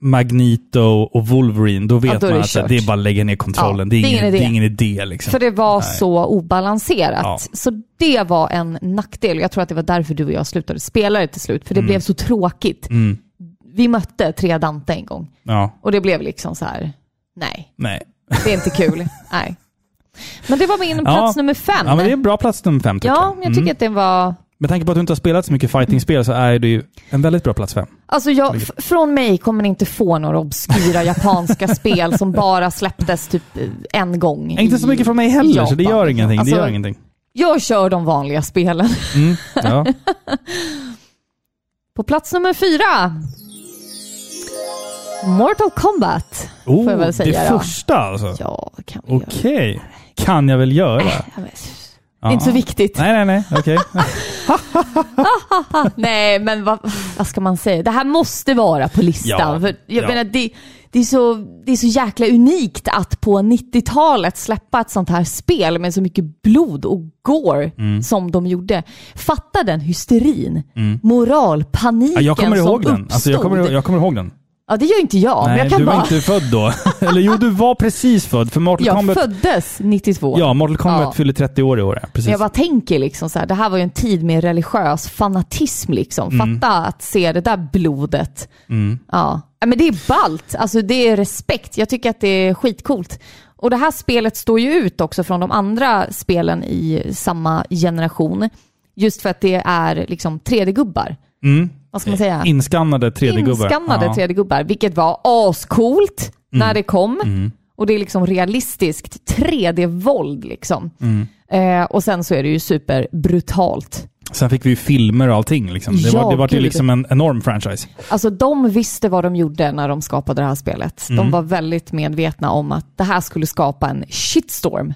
Magneto och Wolverine. Då vet
Ja, då är
man
det
att så här,
kört.
det är bara att lägga ner kontrollen.
Ja,
det, är ingen, det är ingen idé liksom.
För det var
Nej.
så obalanserat.
Ja.
Så det var en nackdel. Jag tror att det var därför du och jag slutade spela det till slut, för det blev så tråkigt.
Mm.
Vi mötte tre Dante en gång.
Ja,
Och det blev liksom så här, nej,
nej.
det är inte kul. nej. Men det var min plats nummer fem.
Ja, men det är en bra Mm. plats nummer fem tycker
Ja,
jag.
jag tycker att den var
Med tanke på att du inte har spelat så mycket fightingspel så är det ju en väldigt bra plats fem.
Alltså jag, f- från mig kommer ni inte få några obskyra japanska spel som bara släpptes typ eh, en gång.
Inte
i
så mycket från mig heller, så det
Japan.
gör ingenting.
Alltså,
det gör ingenting.
Jag kör de vanliga spelen.
Mm, ja.
På plats nummer fyra. Mortal Kombat.
oh,
jag väl säga
det
då.
första alltså?
Ja, det kan vi göra.
Okej. Kan jag väl göra?
Ja, men,
Ja.
Inte så viktigt.
Nej, nej, nej. Okej.
Nej, men vad, vad ska man säga? Det här måste vara på listan.
Ja,
för jag
ja.
menar, det, det, är så, det är så jäkla unikt att på 90-talet släppa ett sånt här spel med så mycket blod och gore
Mm.
som de gjorde. Fatta den hysterin, moralpaniken
Ja, jag kommer
som
ihåg den.
uppstod.
Alltså, jag, kommer, ihåg- jag kommer ihåg den.
Ja, det gör inte jag, men
nej,
jag kan
du var
bara...
inte född då. Eller jo, du var precis född. För Mortal
Jag
Kombat,
föddes 92.
ja, Mortal Kombat
Ja.
fyller 30 år i år. ja.
Men
Precis.
jag bara tänker liksom så här, det här var ju en tid med religiös fanatism liksom.
Mm.
Fatta att se det där blodet. Ja. Ja, Men det är ballt, alltså det är respekt. Jag tycker att det är skitcoolt. Och det här spelet står ju ut också från de andra spelen i samma generation. Just för att det är liksom 3D-gubbar.
Mm.
Vad ska man säga?
Inskannade 3D-gubbar.
Inskannade
Ja. Mm.
3D-gubbar, vilket var ascoolt när det kom. Och det är liksom realistiskt 3D-våld liksom.
Mm.
Eh, och sen så är det ju superbrutalt.
Sen fick vi ju filmer och allting. Liksom. Det,
Ja,
var, det var ju
gud.
liksom en enorm franchise.
Alltså de visste vad de gjorde när de skapade det här spelet.
Mm.
De var väldigt medvetna om att det här skulle skapa en shitstorm.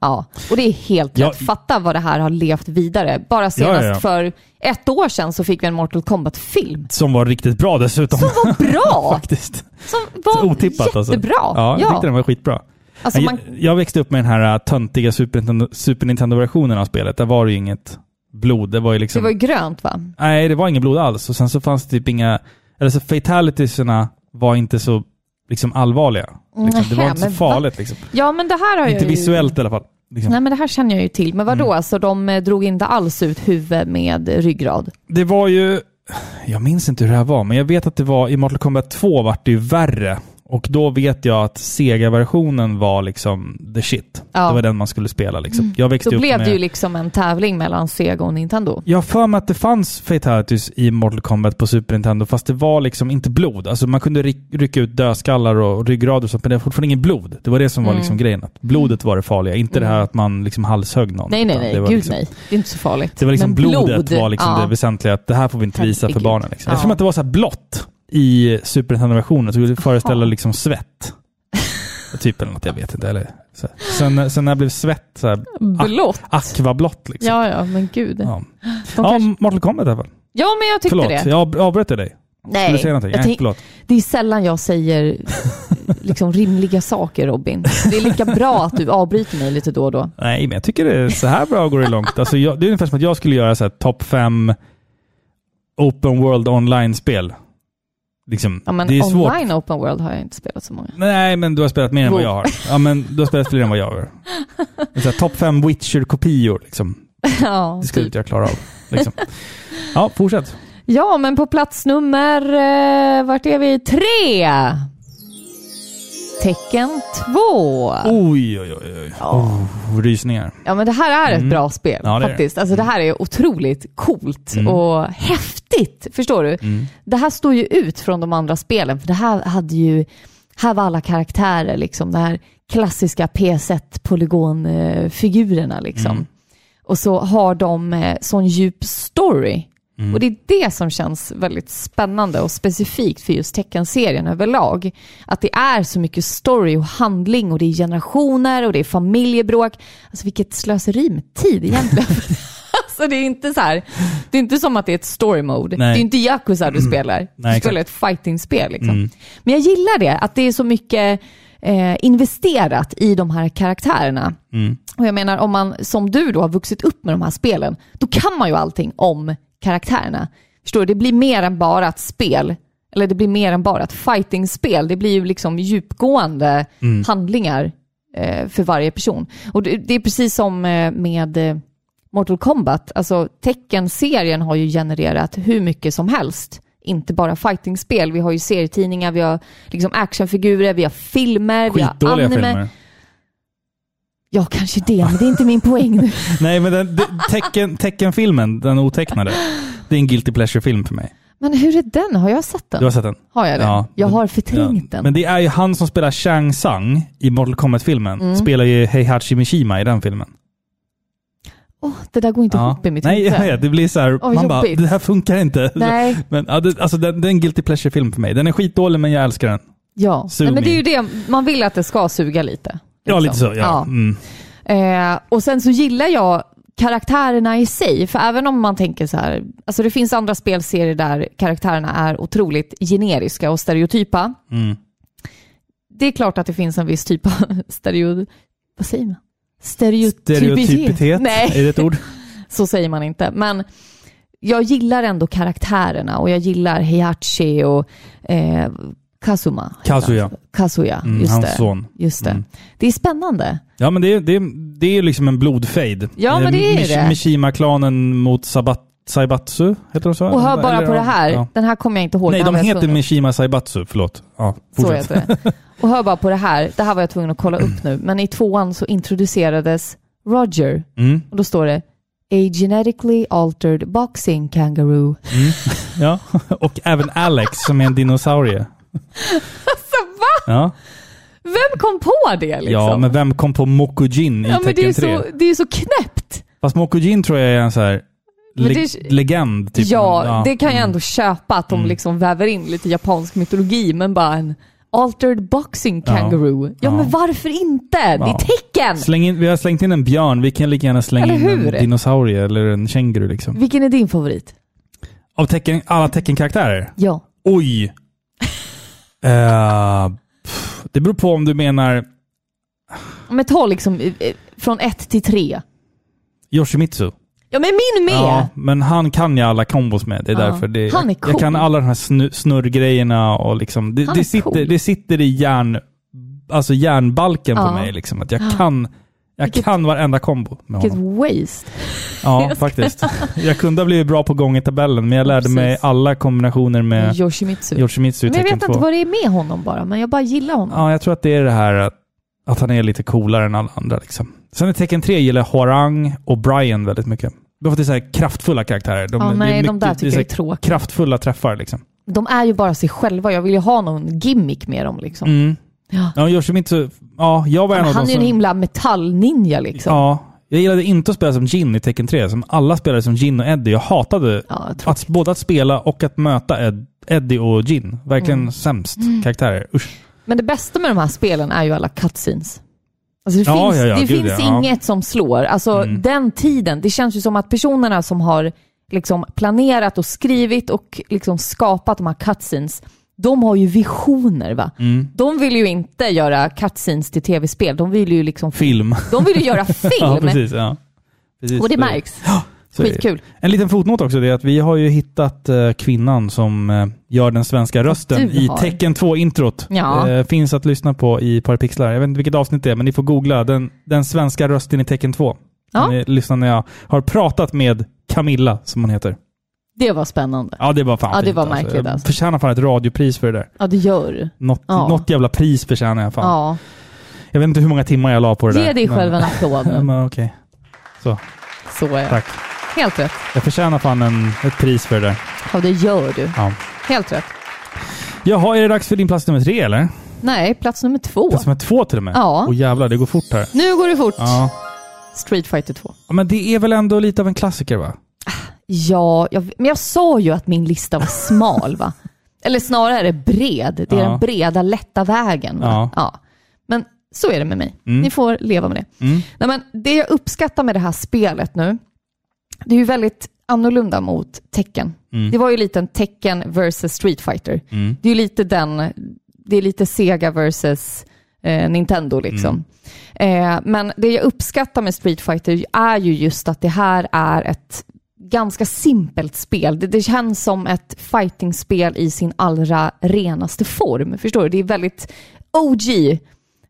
Ja, och det är helt
Mm. Ja,
rätt. Fatta vad det här har levt vidare. Bara senast
ja.
för ett år sedan så fick vi en Mortal Kombat-film.
Som var riktigt bra dessutom.
Som var bra!
Faktiskt.
Som var
Otippat alltså.
jättebra!
Ja, jag tyckte den var skitbra.
Alltså,
jag,
man-
jag växte upp med den här äh, töntiga Super Nintendo- Super Nintendo-versionen av spelet. Där var det ju inget blod. Det var ju
Det
liksom...
var ju grönt va?
Nej, det var inget blod alls. Och sen så fanns det typ inga... Eller så fatalitiesna var inte så liksom, allvarliga. Liksom. Det var
Nähä,
inte så
men va?
farligt. Liksom.
Ja men det här har
Inte
jag ju...
visuellt Mm. i alla fall. Liksom.
Nej men det här känner jag ju till. Men vadå, så de eh, drog inte alls ut huvud med ryggrad?
Det var ju... Jag minns inte hur det här var, men jag vet att det var i Mortal Kombat 2 vart det ju värre. Och då vet jag att Sega-versionen var liksom the shit.
Ja. Mm.
Det var den man skulle spela liksom. Jag växte
Då
upp
blev
med...
det ju liksom en tävling mellan Sega och Nintendo.
Jag har för mig att det fanns fatalities i Mortal Kombat på Super Nintendo, fast det var liksom inte blod. Alltså man kunde ry- rycka ut dödskallar och ryggrader och sånt, men det var fortfarande inget blod. Det var det som var
Mm.
liksom grejen. Att blodet var det farliga, inte det här att man liksom halshögg någon.
Nej nej
utan
nej,
det var
gud
liksom,
nej. Det är inte så farligt.
Det var liksom
Men
blodet var liksom
ja.
det väsentliga, att det här får vi inte visa för
Herregud.
barnen. Liksom. Jag
Ja.
tror att det var så här blått i Super Nintendo-versionen, så det föreställa
Jaha.
liksom svett. typ eller något, jag vet inte. Eller, så. här. Sen, sen när det blev svett, så här,
Blått?
akvablått liksom.
Ja ja, men gud. Ja,
Ah. Ja. Ja, Mortal Kombat i alla fall.
men jag tyckte
Förlåt,
det.
jag ab- avbröt jag dig.
Nej,
Skulle du säga någonting?
jag
Nej,
tänk-
förlåt.
det är sällan jag säger liksom rimliga saker Robin. Det är lika bra att du avbryter mig lite då och då.
Nej, men jag tycker det är så här bra går det långt. Alltså, jag, det är ungefär som att jag skulle göra så här topp fem open world online-spel. Liksom,
Ja, men
det är svårt.
online open world har jag inte spelat så många.
Nej, men du har spelat mer än vad
Wow.
jag har. Ja, men du har spelat fler än vad jag har. Det är så här, Topp fem Witcher-kopior, liksom.
Ja,
Det skulle
typ.
inte jag klara av. Liksom. Ja, fortsätt.
Ja, men på plats nummer... Eh, vart är vi? Tre! Tecken två.
Oj, oj, oj. oj. Oh, rysningar.
Ja, men det här är ett bra spel
Mm. Ja, det Mm. är det.
faktiskt. Alltså, det här är otroligt coolt och häftigt. Förstår du?
Mm.
Det här står ju ut från de andra spelen, för det här hade ju... Här var alla karaktärer, liksom. De här klassiska PS1-polygonfigurerna. Liksom.
Mm.
Och så har de eh, sån djup story. Och det är det som känns väldigt spännande och specifikt för just teckenserien överlag. Att det är så mycket story och handling och det är generationer och det är familjebråk. Alltså vilket slöseri med tid egentligen. alltså det är inte så här, det är inte som att det är ett story mode.
Nej.
Det är inte Yakuza du spelar. Du
Nej,
spelar ett fighting-spel liksom. Men jag gillar det, att det är så mycket eh, investerat i de här karaktärerna. Och jag menar, om man som du då har vuxit upp med de här spelen, då kan man ju allting om karaktärerna. Förstår du? Det blir mer än bara ett spel. Eller det blir mer än bara ett fighting-spel. Det blir ju liksom djupgående handlingar eh, för varje person. Och det, det är precis som eh, med eh, Mortal Kombat. Alltså Tekken-serien har ju genererat hur mycket som helst. Inte bara fighting-spel. Vi har ju serietidningar, vi har liksom actionfigurer, vi har filmer, vi har
Skitdåliga
anime.
filmer.
Ja, kanske det, men det är inte min poäng nu.
Nej, men den, den, tecken, teckenfilmen, den otecknade, det är en guilty pleasure-film för mig.
Men hur är den? Har jag sett den?
Du har sett den?
Har jag det?
Ja.
jag har
Ja.
förträngt den.
Men det är ju han som spelar Shang Tsang i Mortal Kombat-filmen.
Mm.
Spelar ju Heihachi Mishima i den filmen.
Åh, det där går inte ihop i mitt
Nej, jag
huvud.
vet. Det blir så här,
Åh,
man bara,
jobbigt.
det här funkar inte.
Nej,
Men ja, det, alltså, den, det är en guilty pleasure-film för mig. Den är skitdålig, men jag älskar den.
ja.
Sug
Nej, men det är
mig.
ju det, man vill att det ska suga lite.
Ja,
liksom.
lite så. Ja. Mm.
Eh, och sen så gillar jag karaktärerna i sig, för även om man tänker så här, alltså det finns andra spelserier där karaktärerna är otroligt generiska och stereotypa.
Mm.
Det är klart att det finns en viss typ av stereo... Vad säger man? Stereotypitet.
Stereotypitet, är
Nej,
det ett ord?
så säger man inte. Men jag gillar ändå karaktärerna och jag gillar Heihachi och eh, Kazuma.
Kazuya.
Kazuya,
Mm,
just
hans
det.
son.
Just det.
Mm.
det är spännande.
Ja, men det, är- det, är- det är ju liksom en blodfejd.
Ja, men det är ju det.
Mishima-klanen mot Sabat, Saibatsu, heter de så?
Och hör bara
Eller,
på det
ja,
här,
ja.
den här kommer jag inte ihåg.
Nej,
Den
de
var jag
heter
tvungen-
Mishima Saibatsu, förlåt. Ja,
Så
fortsätt.
heter det. Och hör bara på det här, det här var jag tvungen att kolla upp nu, men i tvåan så introducerades Roger
Mm,
och då står det A genetically altered boxing kangaroo.
ja. Och även Alex som är en dinosaurie.
Alltså va?
Ja,
Vem kom på det liksom?
ja men vem kom på Mokujin i
Ja, men det, är
Tekken 3?
så, det är så knäppt.
Fast Mokujin tror jag är en så här
Men
le-
det är-
legend. Typ.
ja, det kan jag
Mm.
ändå köpa att de liksom väver in lite japansk mytologi, men bara en altered boxing
Ja.
kangaroo. Ja,
Ja.
men varför inte? Det
Ja.
är tecken!
Släng in, vi har slängt in en björn, vi kan lika gärna slänga
Eller
in en
hur?
dinosaurie eller en känguru. Liksom.
Vilken är din favorit?
Av tecken, alla teckenkaraktärer?
Ja.
Oj! Eh, pff, det beror på om du menar
Men ta liksom eh, eh, från ett till tre.
Yoshimitsu.
Ja, men min med!
Ja, men han kan jag alla kombos med. Det är
Ja.
därför. Det,
Han är cool.
Jag kan alla de här snu, snurrgrejerna och liksom, det,
Han
det,
är
sitter,
cool.
det sitter i hjärn, alltså hjärnbalken på
Ja.
mig. Liksom, att jag kan, jag
Vilket-
kan varenda kombo med
Vilket
honom.
waste.
Ja, faktiskt. Jag kunde ha blivit bra på gång i tabellen, men jag lärde mig
Precis.
alla kombinationer med
Yoshimitsu.
Yoshimitsu i
men jag
Tekken
vet
2.
inte vad det är med honom bara, men jag bara gillar honom.
Ja, jag tror att det är det här att, att han är lite coolare än alla andra. Liksom. Sen i Tekken 3 gillar jag Horang och Brian väldigt mycket. De har det är så här kraftfulla karaktärer. De,
Ja,
det är
nej, de där
det
tycker
så
jag är
här
tråkiga.
Kraftfulla träffar liksom.
De är ju bara sig själva. Jag vill ju ha någon gimmick med dem liksom.
Mm.
Ja.
Ja, Yoshimitsu, ja, jag var en
Men
av
han
dem
är ju en
som...
himla metallninja liksom.
Ja, jag gillade inte att spela som Jin i Tekken 3, som alla spelade som Jin och Eddie. Jag hatade
Ja, jag tror-
att, både att spela och att möta Ed, Eddie och Jin. Verkligen
Mm.
sämst karaktärer. Usch.
Men det bästa med de här spelen är ju alla cutscenes. Alltså det
Ja,
finns,
ja, ja,
det
gud,
finns
ja. Mm.
inget som slår. Alltså den tiden, det känns ju som att personerna som har liksom planerat och skrivit och liksom skapat de här cutscenes, de har ju visioner va?
Mm.
De vill ju inte göra cutscenes till tv-spel, de vill ju liksom
Film.
De vill ju göra film!
Ja, precis. Ja. precis.
och det märks.
Så är det.
Skitkul.
En liten fotnot också, det är att vi har ju hittat eh, kvinnan som eh, gör den svenska rösten
du
i
har.
Tecken 2-introt.
Ja.
Eh, finns att lyssna på i Parapixlar. Jag vet inte vilket avsnitt det är, men ni får googla den, den svenska rösten i Tecken 2.
Ja.
Kan Ni lyssna när jag har pratat med Camilla, som hon heter.
Det var spännande.
Ja, det var fan
Ja, det
fint,
var märkligt,
Jag
alltså.
förtjänar fan ett radiopris för det där.
Ja, det gör du.
Något,
Ja.
något jävla pris förtjänar jag fan.
Ja.
Jag vet inte hur många timmar jag la på det där.
Ge dig
men-
själv en applåd nu.
Men, okej. Så,
Så är det.
tack.
Helt rätt.
Jag förtjänar fan en, ett pris för det där.
Ja, det gör du.
Ja.
Helt rätt.
Jaha, är det dags för din plats nummer tre eller?
Nej, plats nummer två.
Plats nummer två till och med?
Ja.
Åh jävlar, det går fort här.
Nu går det fort.
Ja.
Street Fighter 2.
Ja, Men det är väl ändå lite av en klassiker va?
Ja, jag, men jag sa ju att min lista var smal va? Eller snarare bred. Det är
Ja.
den breda, lätta vägen. Va?
Ja.
Men så är det med mig. Ni får leva med det.
Mm.
Nej, men det jag uppskattar med det här spelet nu, det är ju väldigt annorlunda mot tecken. Det var ju lite en tecken versus Street Fighter.
Mm.
Det är ju lite den, det är lite Sega versus eh, Nintendo liksom. Eh, men det jag uppskattar med Street Fighter är ju just att det här är ett ganska simpelt spel. Det, det känns som ett fightingspel i sin allra renaste form. Förstår du? Det är väldigt OG.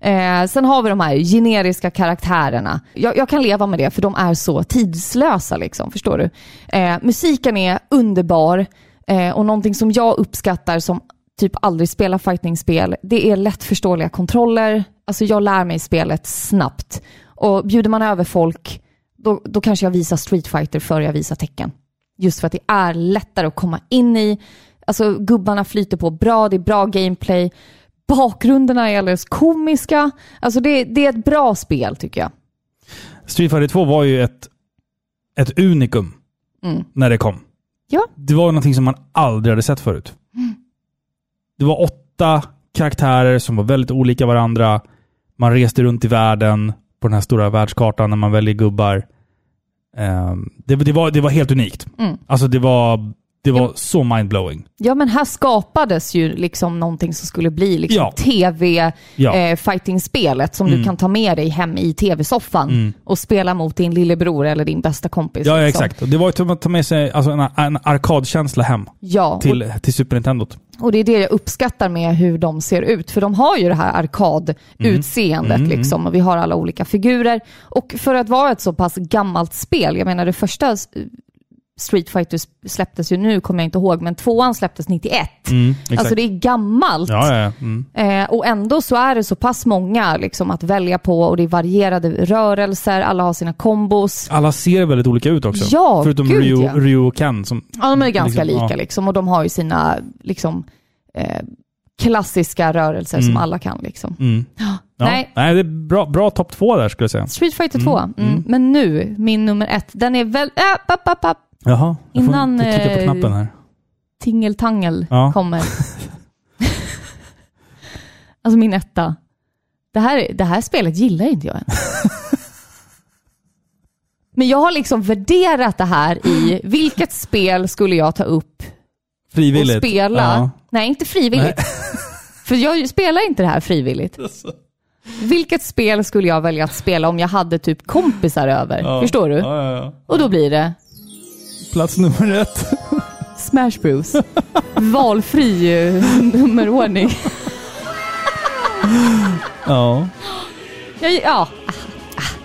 Eh, sen har vi de här generiska karaktärerna. Jag, jag kan leva med det för de är så tidslösa. Liksom, förstår du? Eh, musiken är underbar eh, och någonting som jag uppskattar som typ aldrig spelar fightingspel, det är lättförståeliga kontroller. Alltså jag lär mig spelet snabbt. Och bjuder man över folk, då, då kanske jag visar Street Fighter före jag visar tecken. Just för att det är lättare att komma in i. Alltså gubbarna flyter på bra, det är bra gameplay. Bakgrunderna är alldeles komiska. Alltså det, det är ett bra spel tycker jag.
Street Fighter 2 var ju ett, ett unikum när det kom.
Ja.
Det var någonting som man aldrig hade sett förut. Det var åtta karaktärer som var väldigt olika varandra. Man reste runt i världen på den här stora världskartan när man väljer gubbar. Ehm, det, det, var, det var helt unikt. Alltså det var, det var så mindblowing.
Ja men här skapades ju liksom någonting som skulle bli liksom
Ja. Ja. Mm.
tv-fighting-spelet som du kan ta med dig hem i tv-soffan och spela mot din lillebror eller din bästa kompis.
Ja, ja,
liksom.
exakt. Och det var ju som att ta med sig alltså, en, en arkadkänsla hem
Ja, och,
till, till Super Nintendot.
och det är det jag uppskattar med hur de ser ut. För de har ju det här arkadutseendet
Mm.
liksom och vi har alla olika figurer. Och för att vara ett så pass gammalt spel, jag menar det första eh, Street Fighter släpptes ju nu, kommer jag inte ihåg, men tvåan släpptes 91.
Mm, Exakt.
Alltså det är gammalt.
ja, ja, ja. Mm.
Eh, och ändå så är det så pass många liksom, att välja på och det är varierade rörelser, alla har sina kombos.
Alla ser väldigt olika ut också.
Ja,
Förutom
gud,
Ryu,
ja.
Ryu och Ken. Som,
Ja, de är ganska
Liksom, ja.
lika liksom, och de har ju sina liksom, eh, klassiska rörelser som alla kan. Liksom.
mm. ja.
Nej.
det är bra, bra topp två där skulle jag säga.
Street Fighter 2, mm, men nu, min nummer ett, den är väl... Äh, app, app, app,
Jaha, jag
Innan,
får inte trycka på
eh,
knappen här.
tingeltangel
Ja.
kommer. alltså min etta. Det här, det här spelet gillar inte jag än. Men jag har liksom värderat det här i vilket spel skulle jag ta upp och
Frivilligt.
spela.
Ja.
Nej, inte frivilligt. För jag spelar inte det här frivilligt. Vilket spel skulle jag välja att spela om jag hade typ kompisar över?
Ja.
Förstår du?
Ja, ja, ja.
Och då blir det
Plats nummer ett.
Smash Bros. Valfri eh, nummerordning.
Ja.
Alltså, Jag, ja.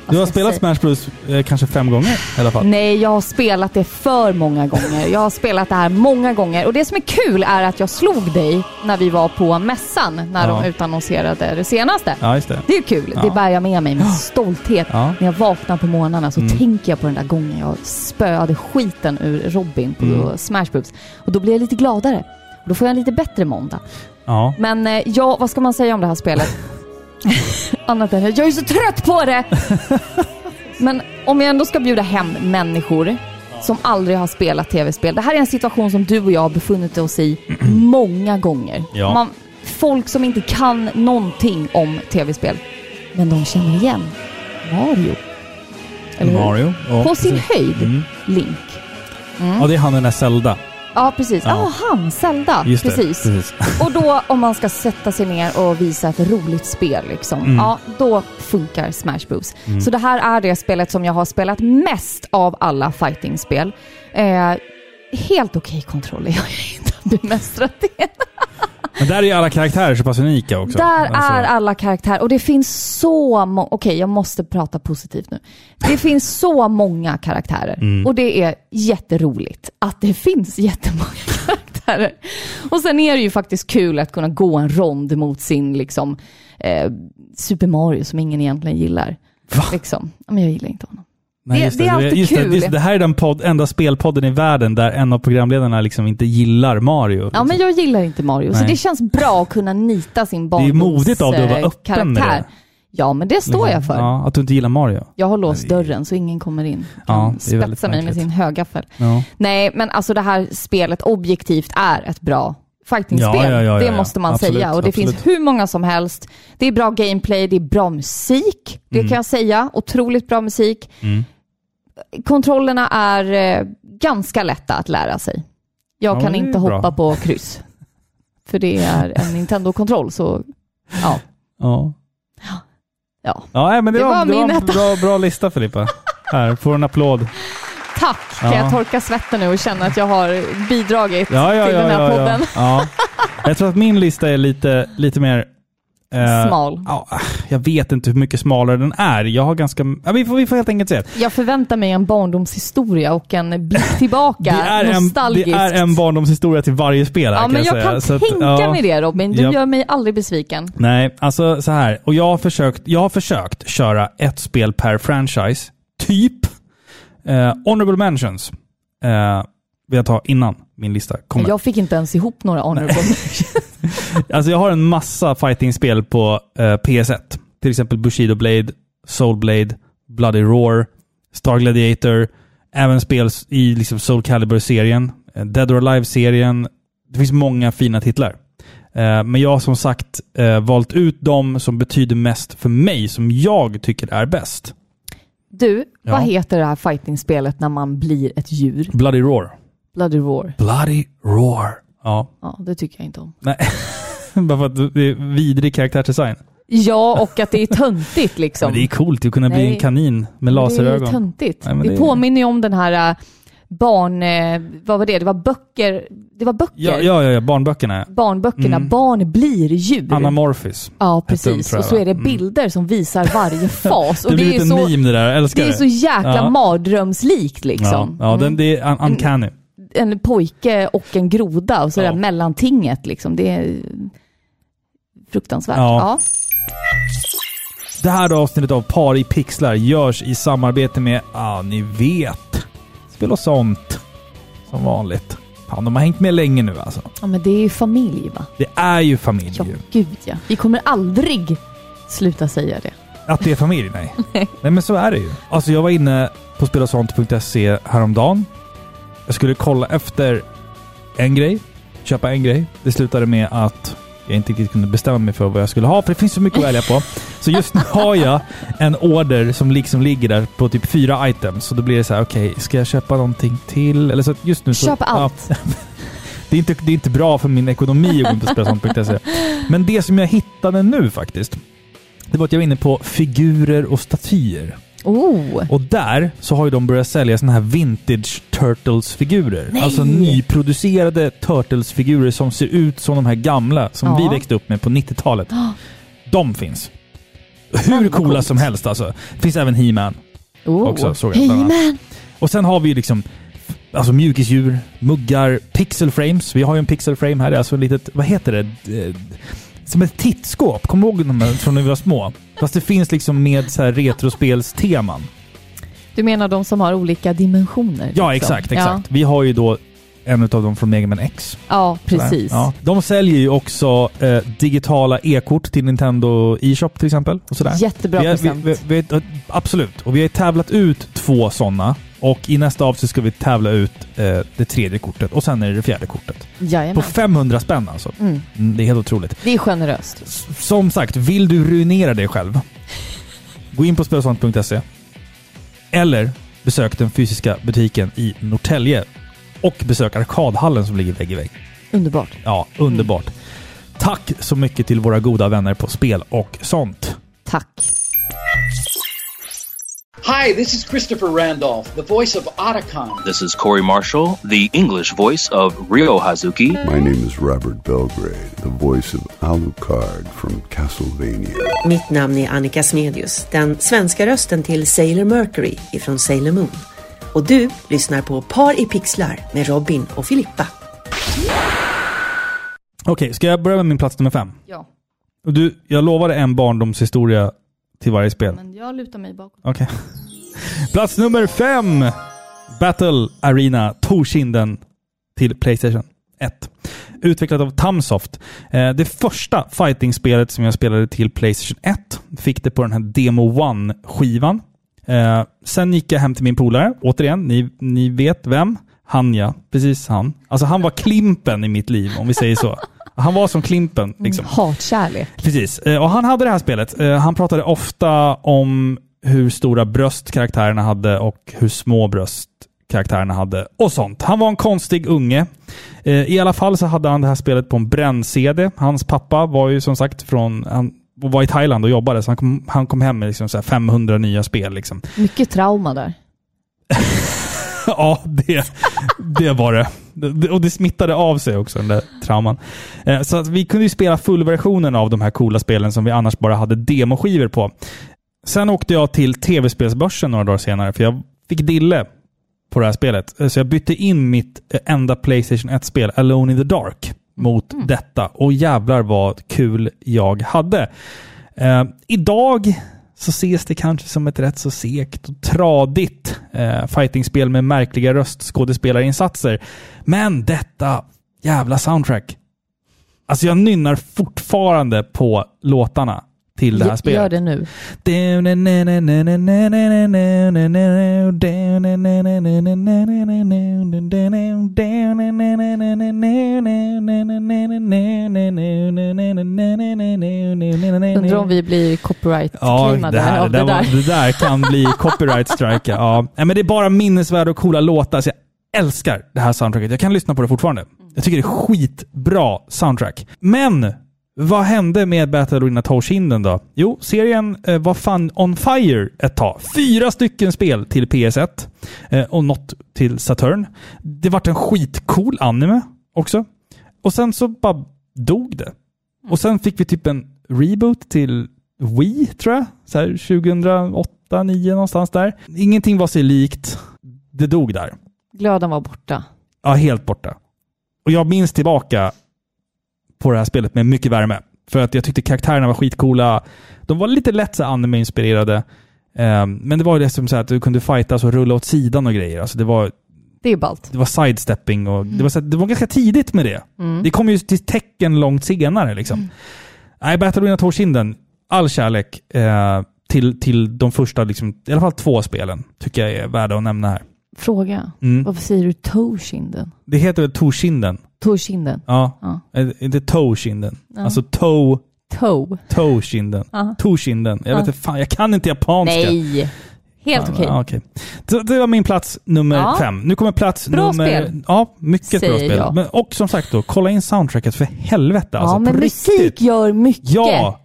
Du har
jag
spelat Smash Bros eh, kanske fem gånger i alla fall.
Nej, jag har spelat det för många gånger. Jag har spelat det här många gånger. Och det som är kul är att jag slog dig när vi var på mässan när
Ja.
de utannonserade det senaste.
Ja, just det.
Det är ju kul.
Ja.
Det bär jag med mig med stolthet.
Ja. Mm.
När jag vaknar på morgnarna så tänker jag på den där gången jag spöade skiten ur Robin på
Mm.
Smash Bros. Och då blir jag lite gladare. Och Då får jag en lite bättre måndag.
Ja.
Men eh, ja, vad ska man säga om det här spelet? Annat än att jag är så trött på det! Men om jag ändå ska bjuda hem människor som aldrig har spelat tv-spel. Det här är en situation som du och jag har befunnit oss i många gånger.
Ja.
Man, folk som inte kan någonting om tv-spel. Men de känner igen Mario. Eller hur?
Mario. Ja,
På sin
precis.
höjd
Mm.
Link.
Ja, det är han den där Zelda.
Ja, precis. Ja,
Ja.
ah, han, Zelda.
Just
precis.
det. Precis.
Och då om man ska sätta sig ner och visa ett roligt spel, liksom, ja, då funkar Smash Bros. Så det här är det spelet som jag har spelat mest av alla fighting-spel. Eh, helt okej kontroller, jag har inte bemästrat det.
Men där är ju alla karaktärer så pass unika också.
Där
Alltså,
är alla karaktärer och det finns så många, okej jag måste prata positivt nu. Det finns så många karaktärer
Mm.
och det är jätteroligt att det finns jättemånga karaktärer. Och sen är det ju faktiskt kul att kunna gå en rond mot sin liksom, eh, Super Mario som ingen egentligen gillar. Liksom. Ja, Men jag gillar inte honom.
Nej,
Det-
just
det är alltid
just
kul.
Det, just det. det här är den podd, enda spelpodden i världen där en av programledarna liksom inte gillar Mario.
Ja men jag gillar inte Mario, så
Alltså- Nej.
det känns bra att kunna nita sin
är
barndoms
modigt av dig att vara
eh,
öppen med
karaktär.
det.
Ja men det står jag för.
Liksom. Ja, att du inte gillar Mario.
Jag har låst dörren så ingen kommer in.
Ja,
Kan
det är väldigt
spetsa mig med
märkligt.
sin högaffel.
Ja.
Nej, men alltså det här spelet objektivt är ett bra fightingspel.
Ja, ja, ja, ja,
det
ja.
måste man
Absolut,
säga. Och det
absolut.
finns hur många som helst. Det är bra gameplay, det är bra musik. Det
Mm.
kan jag säga. Otroligt bra musik. Kontrollerna är eh, ganska lätta att lära sig. Jag
Ja,
kan
det är
inte
bra.
hoppa på kryss. För det är en Nintendo-kontroll, så ja.
Ja.
ja.
Ja, nej, men det,
Det
var,
var
det var
min
en
etta.
bra, bra lista Filippa. Här, får en applåd.
Tack! Kan
Ja.
jag torka svetten nu och känna att jag har bidragit
Ja, ja,
till
ja,
den här
ja,
podden?
Ja. Ja. Jag tror att min lista är lite, lite mer Eh,
Smal.
Ja, jag vet inte hur mycket smalare den är. Jag har ganska... Ja, vi, får, vi får helt enkelt se.
Jag förväntar mig en barndomshistoria och en blick tillbaka.
Det är, en, det
nostalgiskt.
är en barndomshistoria till varje spel här,
Ja,
kan
men jag
säga.
kan
Så att,
tänka
ja.
mig det Robin. Du
Ja.
gör mig aldrig besviken.
Nej, alltså så här. Och jag har försökt, jag har försökt köra ett spel per franchise, typ. Eh, honorable mentions eh, vill jag ta innan min lista kommer.
Jag fick inte ens ihop några honorable
Alltså jag har en massa fighting-spel på eh, PS1. Till exempel Bushido Blade, Soul Blade, Bloody Roar, Star Gladiator, även spel s- i liksom Soul Calibur-serien, eh, Dead or Alive-serien. Det finns många fina titlar. Eh, men jag har som sagt eh, valt ut de som betyder mest för mig, som jag tycker är bäst.
Du,
Ja.
vad heter det här fightingspelet när man blir ett djur?
Bloody Roar.
Bloody Roar.
Bloody Roar. Ja,
Ja, det tycker jag inte om.
bara för att det är vidrig karaktärsdesign.
Ja, och att det är töntigt liksom.
Men det är coolt att kunna bli
Nej.
en kanin med
Det är
laserögon.
töntigt.
Nej, men
det,
det är-
påminner ju om den här äh, barn... eh, Vad var det? Det var böcker. Det var böcker.
Ja, ja, ja, ja barnböckerna.
Barnböckerna.
Mm.
Barn blir djur.
Anamorphis.
ja,
hette den,
precis.
tror jag,
Och så
va?
är det
Mm.
bilder som visar varje fas.
Det
Och
blir
det, är
en
så,
meme det där, jag älskar
det är så jäkla
Ja.
mardrömslikt liksom.
Ja, ja den, det är un- uncanny.
en pojke och en groda och så
Ja.
det där mellantinget liksom. Det är fruktansvärt.
Ja.
Ja.
Det här avsnittet av Par i pixlar görs i samarbete med, ah, ni vet, Spel och sånt. Som vanligt. Fan, de har hängt med länge nu alltså.
ja, men det är ju familj va?
Det är ju familj
Ja,
ju.
gud ja. Vi kommer aldrig sluta säga det.
Att det är familj, nej. nej men så är det ju. Alltså jag var inne på spelosont.se häromdagen. Jag skulle kolla efter en grej, köpa en grej. Det slutade med att jag inte riktigt kunde bestämma mig för vad jag skulle ha, för det finns så mycket att välja på. Så just nu har jag en order som liksom ligger där på typ fyra items. Så då blir det så här, okej, ska jag köpa någonting till? Eller så att just nu så,
Köp
ja,
allt.
det, är inte, det är inte bra för min ekonomi att gå in på spelsånt.se. Men det som jag hittade nu faktiskt, det var att jag var inne på figurer och statyer.
Oh,
Och där så har ju de börjat sälja såna här vintage Turtles-figurer.
Nej!
Alltså nyproducerade Turtles-figurer som ser ut som de här gamla som
Ja.
vi växte upp med på 90-talet. De finns.
vad
Hur coola
coolt.
som helst alltså. Det finns även He-Man.
oh.
Också, såg jag bland annat.
Hej
Och sen har vi ju liksom alltså mjukisdjur, muggar, pixel frames. Vi har ju en pixel frame här. Det är alltså ett litet, vad heter det? Eh, Som ett tittskåp. Kommer du ihåg de här från när vi var små? Fast det finns liksom med så här retrospelsteman.
Du menar de som har olika dimensioner?
Ja,
liksom?
exakt, exakt. Vi har ju då en av dem från Mega Man X.
Ja, ja precis.
Ja. De säljer ju också eh, digitala e-kort till Nintendo e-shop till exempel. Och sådär.
Jättebra
Vi har-
present.
Vi, vi, vi, absolut. Och vi har ju tävlat ut två sådana. Och i nästa avsnitt ska vi tävla ut eh, det tredje kortet och sen är det det fjärde kortet. På
Jajamän.
500 spänn alltså.
Mm.
Mm, Det är helt otroligt.
Det är generöst.
S- Som sagt, vill du ruinera dig själv? Gå in på spelsvant.se eller besök den fysiska butiken i Norrtälje och besök arkadhallen som ligger vägg i vägg.
Underbart.
Ja, underbart. Tack så mycket till våra goda vänner på Spel och sånt.
Tack.
Hi, this is Christopher Randolph, the voice of Otacon.
This is Corey Marshall, the English voice of Rio Hazuki.
My name is Robert Belgrade, the voice of Alucard from Castlevania.
Mitt namn är Annika Smedius, den svenska rösten till Sailor Mercury ifrån Sailor Moon. Och du lyssnar på Par i pixlar med Robin och Filippa.
Okej, ska jag börja med min plats nummer fem?
Ja,
Och Du, jag lovade en barndomshistoria till varje spel.
men jag lutar mig bakåt.
Okej. Plats nummer fem. Battle Arena Torkinden till Playstation 1. Utvecklat av Tamsoft. Eh, Det första fighting-spelet som jag spelade till Playstation 1 fick det på den här Demo 1-skivan. Eh, Sen gick jag hem till min polare, återigen, ni, ni vet vem? Han ja, precis han. Alltså han var Klimpen i mitt liv, om vi säger så. Han var som Klimpen. Liksom.
Hatkärlek.
Precis. Eh, Och han hade det här spelet. Eh, Han pratade ofta om hur stora bröst karaktärerna hade och hur små bröst karaktärerna hade och sånt. Han var en konstig unge. Eh, I alla fall så hade han det här spelet på en bränn-CD. Hans pappa var ju som sagt från... Han och var i Thailand och jobbade, så han kom, han kom hem med liksom så här 500 nya spel. Liksom.
Mycket trauma där.
ja, det, det var det. Det- Och det smittade av sig också, den där trauman. Eh, Så att vi kunde ju spela fullversionen av de här coola spelen som vi annars bara hade demoskivor på. Sen åkte jag till tv-spelsbörsen några dagar senare, för jag fick dille på det här spelet. Eh, Så jag bytte in mitt eh, enda Playstation 1-spel, Alone in the Dark, mot detta. Och jävlar vad kul jag hade. Eh, idag så ses det kanske som ett rätt så segt och tradigt eh, fightingspel med märkliga röstskådespelarinsatser. Men detta jävla soundtrack. Alltså jag nynnar fortfarande på låtarna till det här spelet.
Gör det nu. Undrar om vi blir copyright
Ja,
claimade
det här,
av
det, där
det
var,
där.
det där kan bli copyright strike. Ja. Nej, men det är bara minnesvärda och coola låtar. Så jag älskar det här soundtracket. Jag kan lyssna på det fortfarande. Jag tycker det är skitbra soundtrack. Men vad hände med Battle Arena Torshinden då? Jo, serien eh, var fan on fire ett tag. Fyra stycken spel till PS1 eh, och något till Saturn. Det vart en skitcool anime också. Och sen så bara dog det. Och sen fick vi typ en reboot till Wii, tror jag. Så här 2008, 2009 någonstans där. Ingenting var sig likt. Det dog där.
Glöden var borta.
Ja, helt borta. Och jag minns tillbaka på det här spelet med mycket värme. För att jag tyckte karaktärerna var skitcoola. De var lite lätt så här anime-inspirerade. Ehm, Men det var ju det som så här att du kunde fightas och rulla åt sidan och grejer. Alltså det var
Det är ballt.
det var sidestepping och det,
Mm.
var så, det var ganska tidigt med det. Det kom ju till tecken långt senare. Liksom.
Mm.
Nej, Battle Arena Torshinden, all kärlek eh, till, till de första, liksom, i alla fall två spelen, tycker jag är värda att nämna här.
Fråga.
Mm.
Varför säger du tåkinden?
Det heter väl Torskinden?
Tåkinden.
Ja.
Ja.
Eh, Inte Toekinden. Alltså toe,
Tå.
toe-kinden.
Ja.
Torskinden. Jag vet inte, fan, jag kan inte japanska.
Nej. Helt okej.
Ja, alltså, okej. Så Det var min plats nummer
Ja.
fem. Nu kommer plats
Bra
nummer...
spel.
Ja, mycket
Säger
bra spel.
jag.
Men, och som sagt då, kolla in soundtracket för helvete. Ja, alltså,
ja,
på
men musik
riktigt.
gör mycket.
Ja!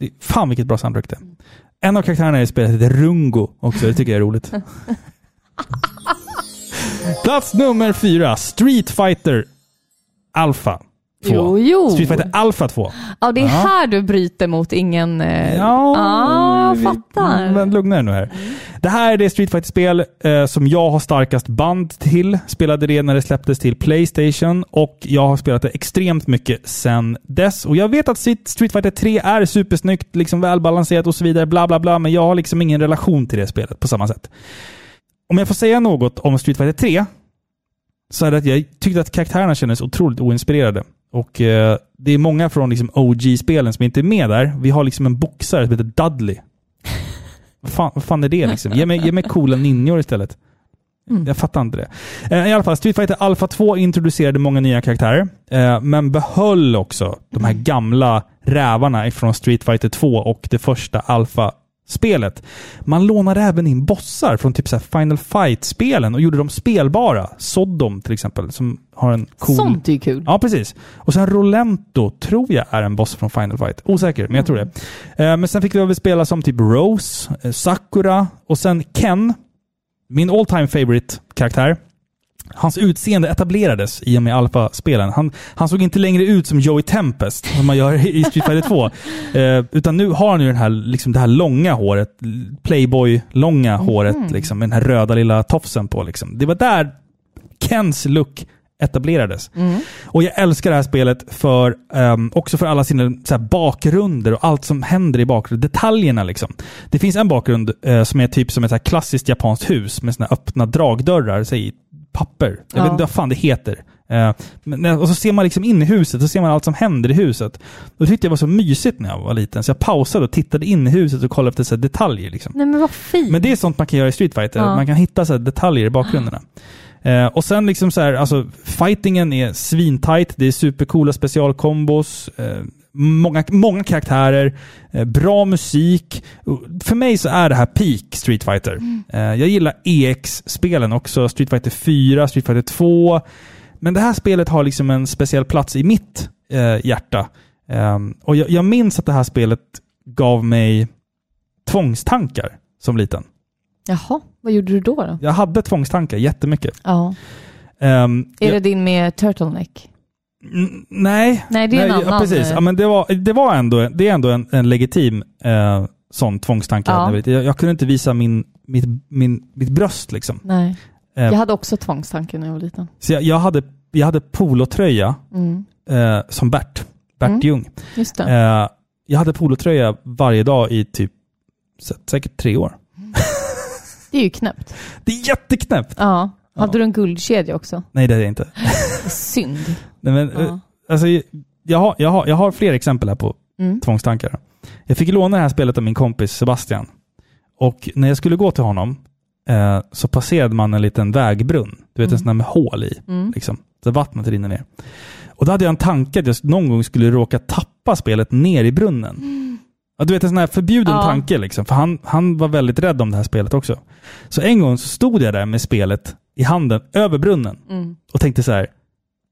Det- Fan vilket bra soundtrack det är. En av karaktärerna i spelet heter Rungo också. Det tycker jag är roligt. plats nummer fyra. Street Fighter Alpha 2.
Jo, jo.
Street Fighter Alpha 2.
Ja, det är här du bryter mot ingen... Eh...
Ja,
Ah,
vi-
jag fattar.
Mm, Men lugna er nu här. Det här är det Street fighter spel eh, som jag har starkast band till. Spelade det när det släpptes till Playstation och jag har spelat det extremt mycket sedan dess. Och jag vet att Street Street Fighter 3 är supersnyggt, liksom välbalanserat och så vidare, bla bla bla, men jag har liksom ingen relation till det spelet på samma sätt. Om jag får säga något om Street Fighter 3 så är det att jag tyckte att karaktärerna kändes otroligt oinspirerade. Och eh, det är många från liksom OG-spelen som inte är med där. Vi har liksom en boxare som heter Dudley. vad, fan, vad fan är det liksom? Ge mig, ge mig coola ninjor istället. Jag fattar inte det. Eh, I alla fall, Street Fighter Alpha 2 introducerade många nya karaktärer, eh, men behöll också de här gamla rävarna från Street Fighter 2 och det första Alpha-spelet. Man lånade även in bossar från typ så här Final Fight-spelen och gjorde dem spelbara. Sodom till exempel, som har en cool...
Sånt är ju kul.
Ja, precis. Och sen Rolento tror jag är en boss från Final Fight. Osäker, men jag tror det. Eh, Men sen fick vi väl spela som typ Rose, eh, Sakura och sen Ken. Min all time favorite karaktär. Hans utseende etablerades i och med Alpha-spelen. Han, han såg inte längre ut som Joey Tempest, som man gör i Street Fighter 2. Eh, utan nu har han ju den här, liksom det här långa håret, l- Playboy-långa håret, liksom, med den här röda lilla tofsen på. Liksom. Det var där Kens look etablerades. Och jag älskar det här spelet för, ehm, också för alla sina så här, bakgrunder och allt som händer i bakgrunden. Detaljerna liksom. Det finns en bakgrund eh, som är typ som ett så här klassiskt japanskt hus med såna här öppna dragdörrar så här, i papper. Jag
Ja.
vet inte vad fan det heter. Eh, men, och så ser man liksom in i huset, så ser man allt som händer i huset. Och det tyckte jag var så mysigt när jag var liten, så jag pausade och tittade in i huset och kollade efter så här, detaljer. Liksom.
Nej, men vad fint.
Men det är sånt man kan göra i Street Fighter.
Ja.
Man kan hitta så här detaljer i bakgrunderna. Eh, och sen liksom så här, alltså fightingen är svintight. Det är supercoola specialkombos. Eh, många, många karaktärer. Eh, bra musik. Och För mig så är det här peak Street Fighter. Eh, jag gillar EX-spelen också. Street Fighter 4, Street Fighter 2. Men det här spelet har liksom en speciell plats i mitt eh, hjärta. Ehm, och jag, jag minns att det här spelet gav mig tvångstankar som liten.
Jaha, vad gjorde du då? då?
Jag hade tvångstankar jättemycket.
Ja.
Ehm,
Är
jag-
det din med turtleneck?
Mm, Nej.
Nej, det är en
Nej, ja,
annan,
precis.
eh.
Ja, men det, var, det, var ändå, det är ändå en, en legitim eh, sån tvångstanke.
Ja.
jag hade. Jag, jag kunde inte visa min, mitt, min, mitt bröst. Liksom.
Nej.
Eh.
Jag hade också tvångstanken när jag var liten.
Så jag, jag, hade, jag hade polotröja
Mm.
eh, som Bert, Bert
Mm.
Ljung.
Just det.
Eh, jag hade polotröja varje dag i typ så- säkert tre år.
Det är ju knäppt.
Det är jätteknäppt!
Ja. Hade du en guldkedja också?
Nej, det är det inte.
Synd.
Nej, men, eh,
Ja.
alltså, jag, har, jag, har, jag har fler exempel här på
Mm.
tvångstankar. Jag fick låna det här spelet av min kompis Sebastian. Och när jag skulle gå till honom eh, så passerade man en liten vägbrunn. Du vet
Mm.
en sån där med hål i. Liksom, så vattnet rinner ner. Och då hade jag en tanke att jag någon gång skulle råka tappa spelet ner i brunnen. Ja, du vet en sån här förbjuden
Mm. Ja.
tanke. Liksom, för han, han var väldigt rädd om det här spelet också. Så en gång så stod jag där med spelet i handen över brunnen
Mm.
och tänkte så här,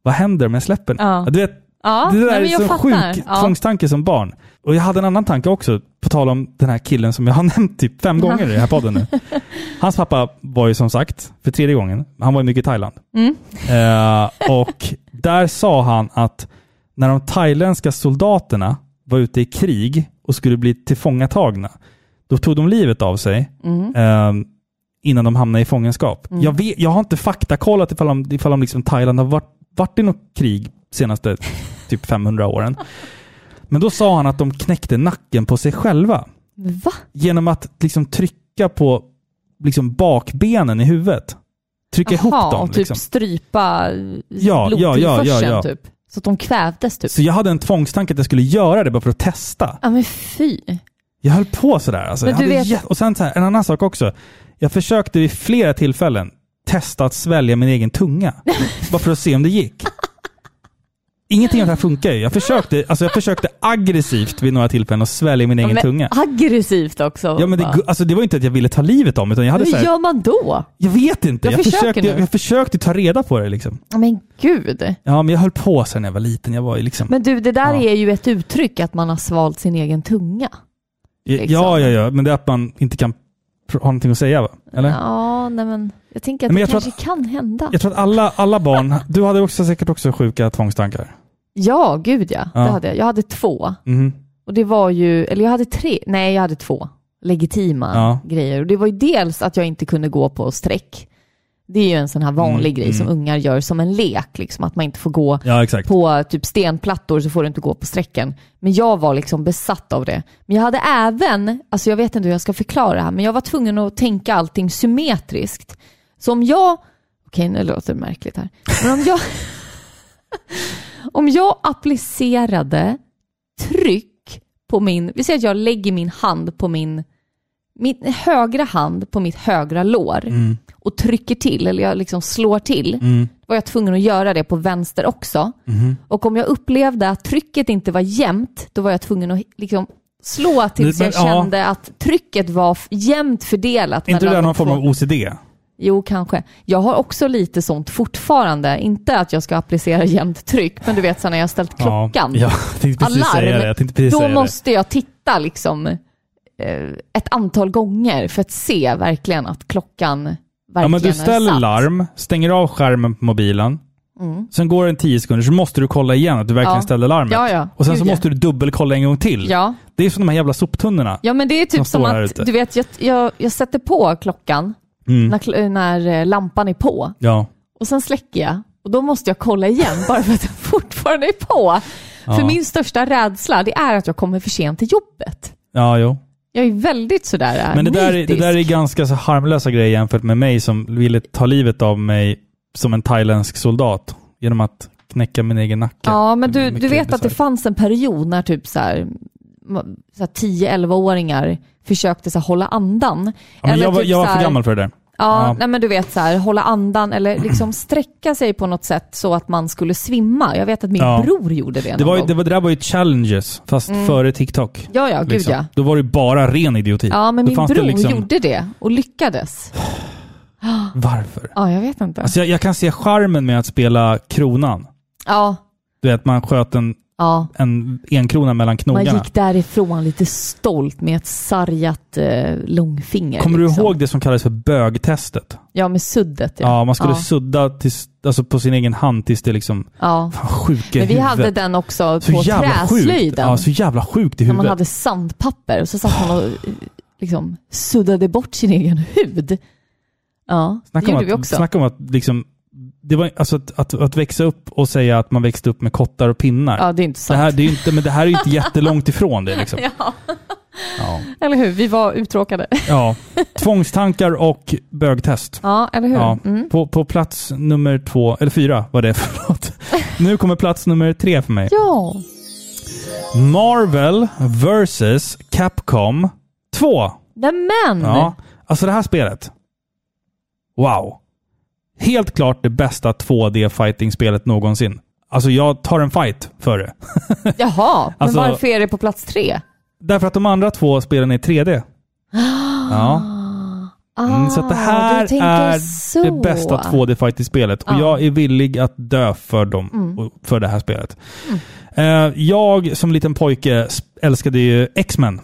vad händer om jag släpper den?
Ja.
Ja, Du vet,
Ja,
det där
nej, men
är
jag
så
fattar.
sjuk
ja.
tvångstanke som barn. Och jag hade en annan tanke också, på tal om den här killen som jag har nämnt typ fem gånger i den här podden nu. Hans pappa var ju som sagt, för tredje gången, han var ju mycket i Thailand.
Mm.
Eh, och där sa han att när de thailändska soldaterna var ute i krig och skulle bli tillfångatagna, då tog de livet av sig
Mm.
eh, innan de hamnade i fångenskap. Jag, vet, jag har inte faktakollat ifall, de, ifall de liksom Thailand har varit, varit i något krig senaste typ 500 åren. Men då sa han att de knäckte nacken på sig själva
Va?
genom att liksom trycka på liksom bakbenen i huvudet. Trycka ihop
Jaha,
dem.
och typ
liksom.
strypa
ja, ja, ja, ja.
typ. Så att de kvävdes typ.
Så jag hade en tvångstanke att jag skulle göra det bara för att testa.
Ja men fy.
Jag höll på sådär. Alltså.
Men
Jag
du
hade
vet-
jä- Och sen så här, en annan sak också. Jag försökte vid flera tillfällen testa att svälja min egen tunga. bara för att se om det gick. Ingenting av det här funkar ju. Jag försökte, alltså jag försökte aggressivt vid några tillfällen att svälja min egen
men
tunga.
Aggressivt också.
Ja, men det,
Bara.
gu- alltså det var ju inte att jag ville ta livet om, utan jag hade
Hur
så här,
gör man då?
jag vet inte.
Jag
Jag,
försöker
försökte,
nu.
jag, jag försökte ta reda på det liksom.
Ja, Men gud.
Ja, men jag höll på sen när jag var liten. Jag var ju liksom...
Men du, det där
Ja.
är ju ett uttryck att man har svalt sin egen tunga. liksom.
Ja, ja, ja, men det är att man inte kan pr- ha någonting att säga, va? Eller?
Ja, nej men jag tänker att
Men jag
det
tror
kanske kan hända.
Jag tror att alla, alla barn, du hade också säkert också sjuka tvångstankar.
Ja, gud ja.
Ja.
Det hade jag. Jag hade två.
Mhm.
Och det var ju, eller jag hade tre, nej jag hade två legitima
Ja.
grejer. Och det var ju dels att jag inte kunde gå på streck. Det är ju en sån här
Mm,
vanlig grej som ungar gör som en lek, liksom, att man inte får gå
Ja, exakt.
på typ stenplattor så får du inte gå på sträckan. Men jag var liksom besatt av det. Men jag hade även, alltså jag vet inte hur jag ska förklara det här, men jag var tvungen att tänka allting symmetriskt. Så om jag, okej nu låter det märkligt här, men om jag, om jag applicerade tryck på min, vi säger att jag lägger min hand på min, min högra hand på mitt högra lår
Mm.
och trycker till, eller jag liksom slår till, var jag tvungen att göra det på vänster också.
Mm-hmm.
Och om jag upplevde att trycket inte var jämnt, då var jag tvungen att liksom slå tills
Men-
jag
men, ja.
kände att trycket var f- jämnt fördelat.
inte du
mellan
där
de
någon form
två.
av OCD?
Jo, kanske. Jag har också lite sånt fortfarande. Inte att jag ska applicera jämnt tryck, men du vet så när jag har ställt klockan.
Ja, jag tänkte precis säga det. Jag tänkte precis
då
säga
måste jag titta liksom eh, ett antal gånger för att se verkligen att klockan verkligen
det. Ja, men du
är
ställer
satt. Mm.
larm, stänger av skärmen på mobilen. Sen går det en tio sekunder, så måste du kolla igen att du verkligen
Ja.
ställer larmet.
Ja, ja.
Och sen så
Gud, ja.
måste du dubbelkolla en gång till.
Ja.
Det är som de här jävla soptunnorna.
Ja men det är
Som
typ som
står här
att,
ute.
du vet, jag, jag, jag sätter på klockan
Mm.
när, kl- när eh, lampan är på
Ja.
och sen släcker jag och då måste jag kolla igen bara för att den fortfarande är på. För
Ja.
min största rädsla det är att jag kommer för sent till jobbet.
Ja, jo.
Jag är väldigt sådär eh,
Men det där, är- det
nitisk.
där är ganska så harmlösa grejer jämfört med mig som ville ta livet av mig som en thailändsk soldat genom att knäcka min egen nacke.
Ja, men du, du
Mycket
vet att det
bisarrt.
fanns en period när typ så här, ma- så här 10-11-åringar försökte så här, hålla andan.
Ja, men
Eller
jag, var,
typ
jag var
så
för
här-
gammal för det där.
Ja,
Ja.
Nej, men du vet så här, hålla andan eller liksom sträcka sig på något sätt så att man skulle svimma. Jag vet att min
Ja.
bror gjorde det,
Det,
någon
var, ju-
gång.
det, var, det där var ju challenges, fast före TikTok.
Mm. Ja, ja, gud
liksom.
ja.
Då var det ju bara ren idioti.
Ja, men
Då
min
fanns det
bror
liksom-
gjorde det och lyckades.
Varför?
Ja, jag vet inte.
Alltså jag, jag kan se charmen med att spela kronan.
ja,
Du vet, man sköt en
Ja,
en enkrona mellan
man
knogarna.
gick därifrån lite stolt med ett sargat eh, långfinger.
Kommer du
liksom.
ihåg det som kallades för bögtestet?
Ja, med suddet.
Ja, man skulle
ja.
sudda tills, alltså på sin egen hand tills det liksom...
Ja.
Fan, sjuka
Men vi
huvud.
hade den också
så
på
jävla sjukt.
träslöjden.
Ja, så jävla sjukt i
när
huvudet. Ah.
man hade sandpapper och så satt man och eh, liksom suddade bort sin egen hud. Ja, det
Snacka om
gjorde
att,
vi också.
Snacka om att liksom... Det var, alltså att, att, att växa upp och säga att man växte upp med kottar och pinnar.
Ja, det är inte
det
sant.
här, det är ju inte, men det här är ju inte jättelångt ifrån det. Liksom.
Ja,
Ja.
eller hur? Vi var uttråkade.
Ja. Tvångstankar och bögtest.
Ja, eller hur?
Ja.
Mm.
På, på plats nummer två, eller fyra var det, förlåt. Nu kommer plats nummer tre för mig.
ja.
Marvel vs Capcom 2.
Nämen!
Ja. Alltså det här spelet. Wow. Helt klart det bästa 2D-fighting-spelet någonsin. Alltså jag tar en fight för det.
Jaha, men
Alltså-
varför är det på plats tre?
Därför att de andra två spelen är 3D. Ja. Mm, så att det
Ah,
här
du tänker
är
så.
det bästa 2D-fighting-spelet och
Ja. Mm.
jag är villig att dö för dem och för det här spelet. Eh, jag som liten pojke sp- älskade ju X-Men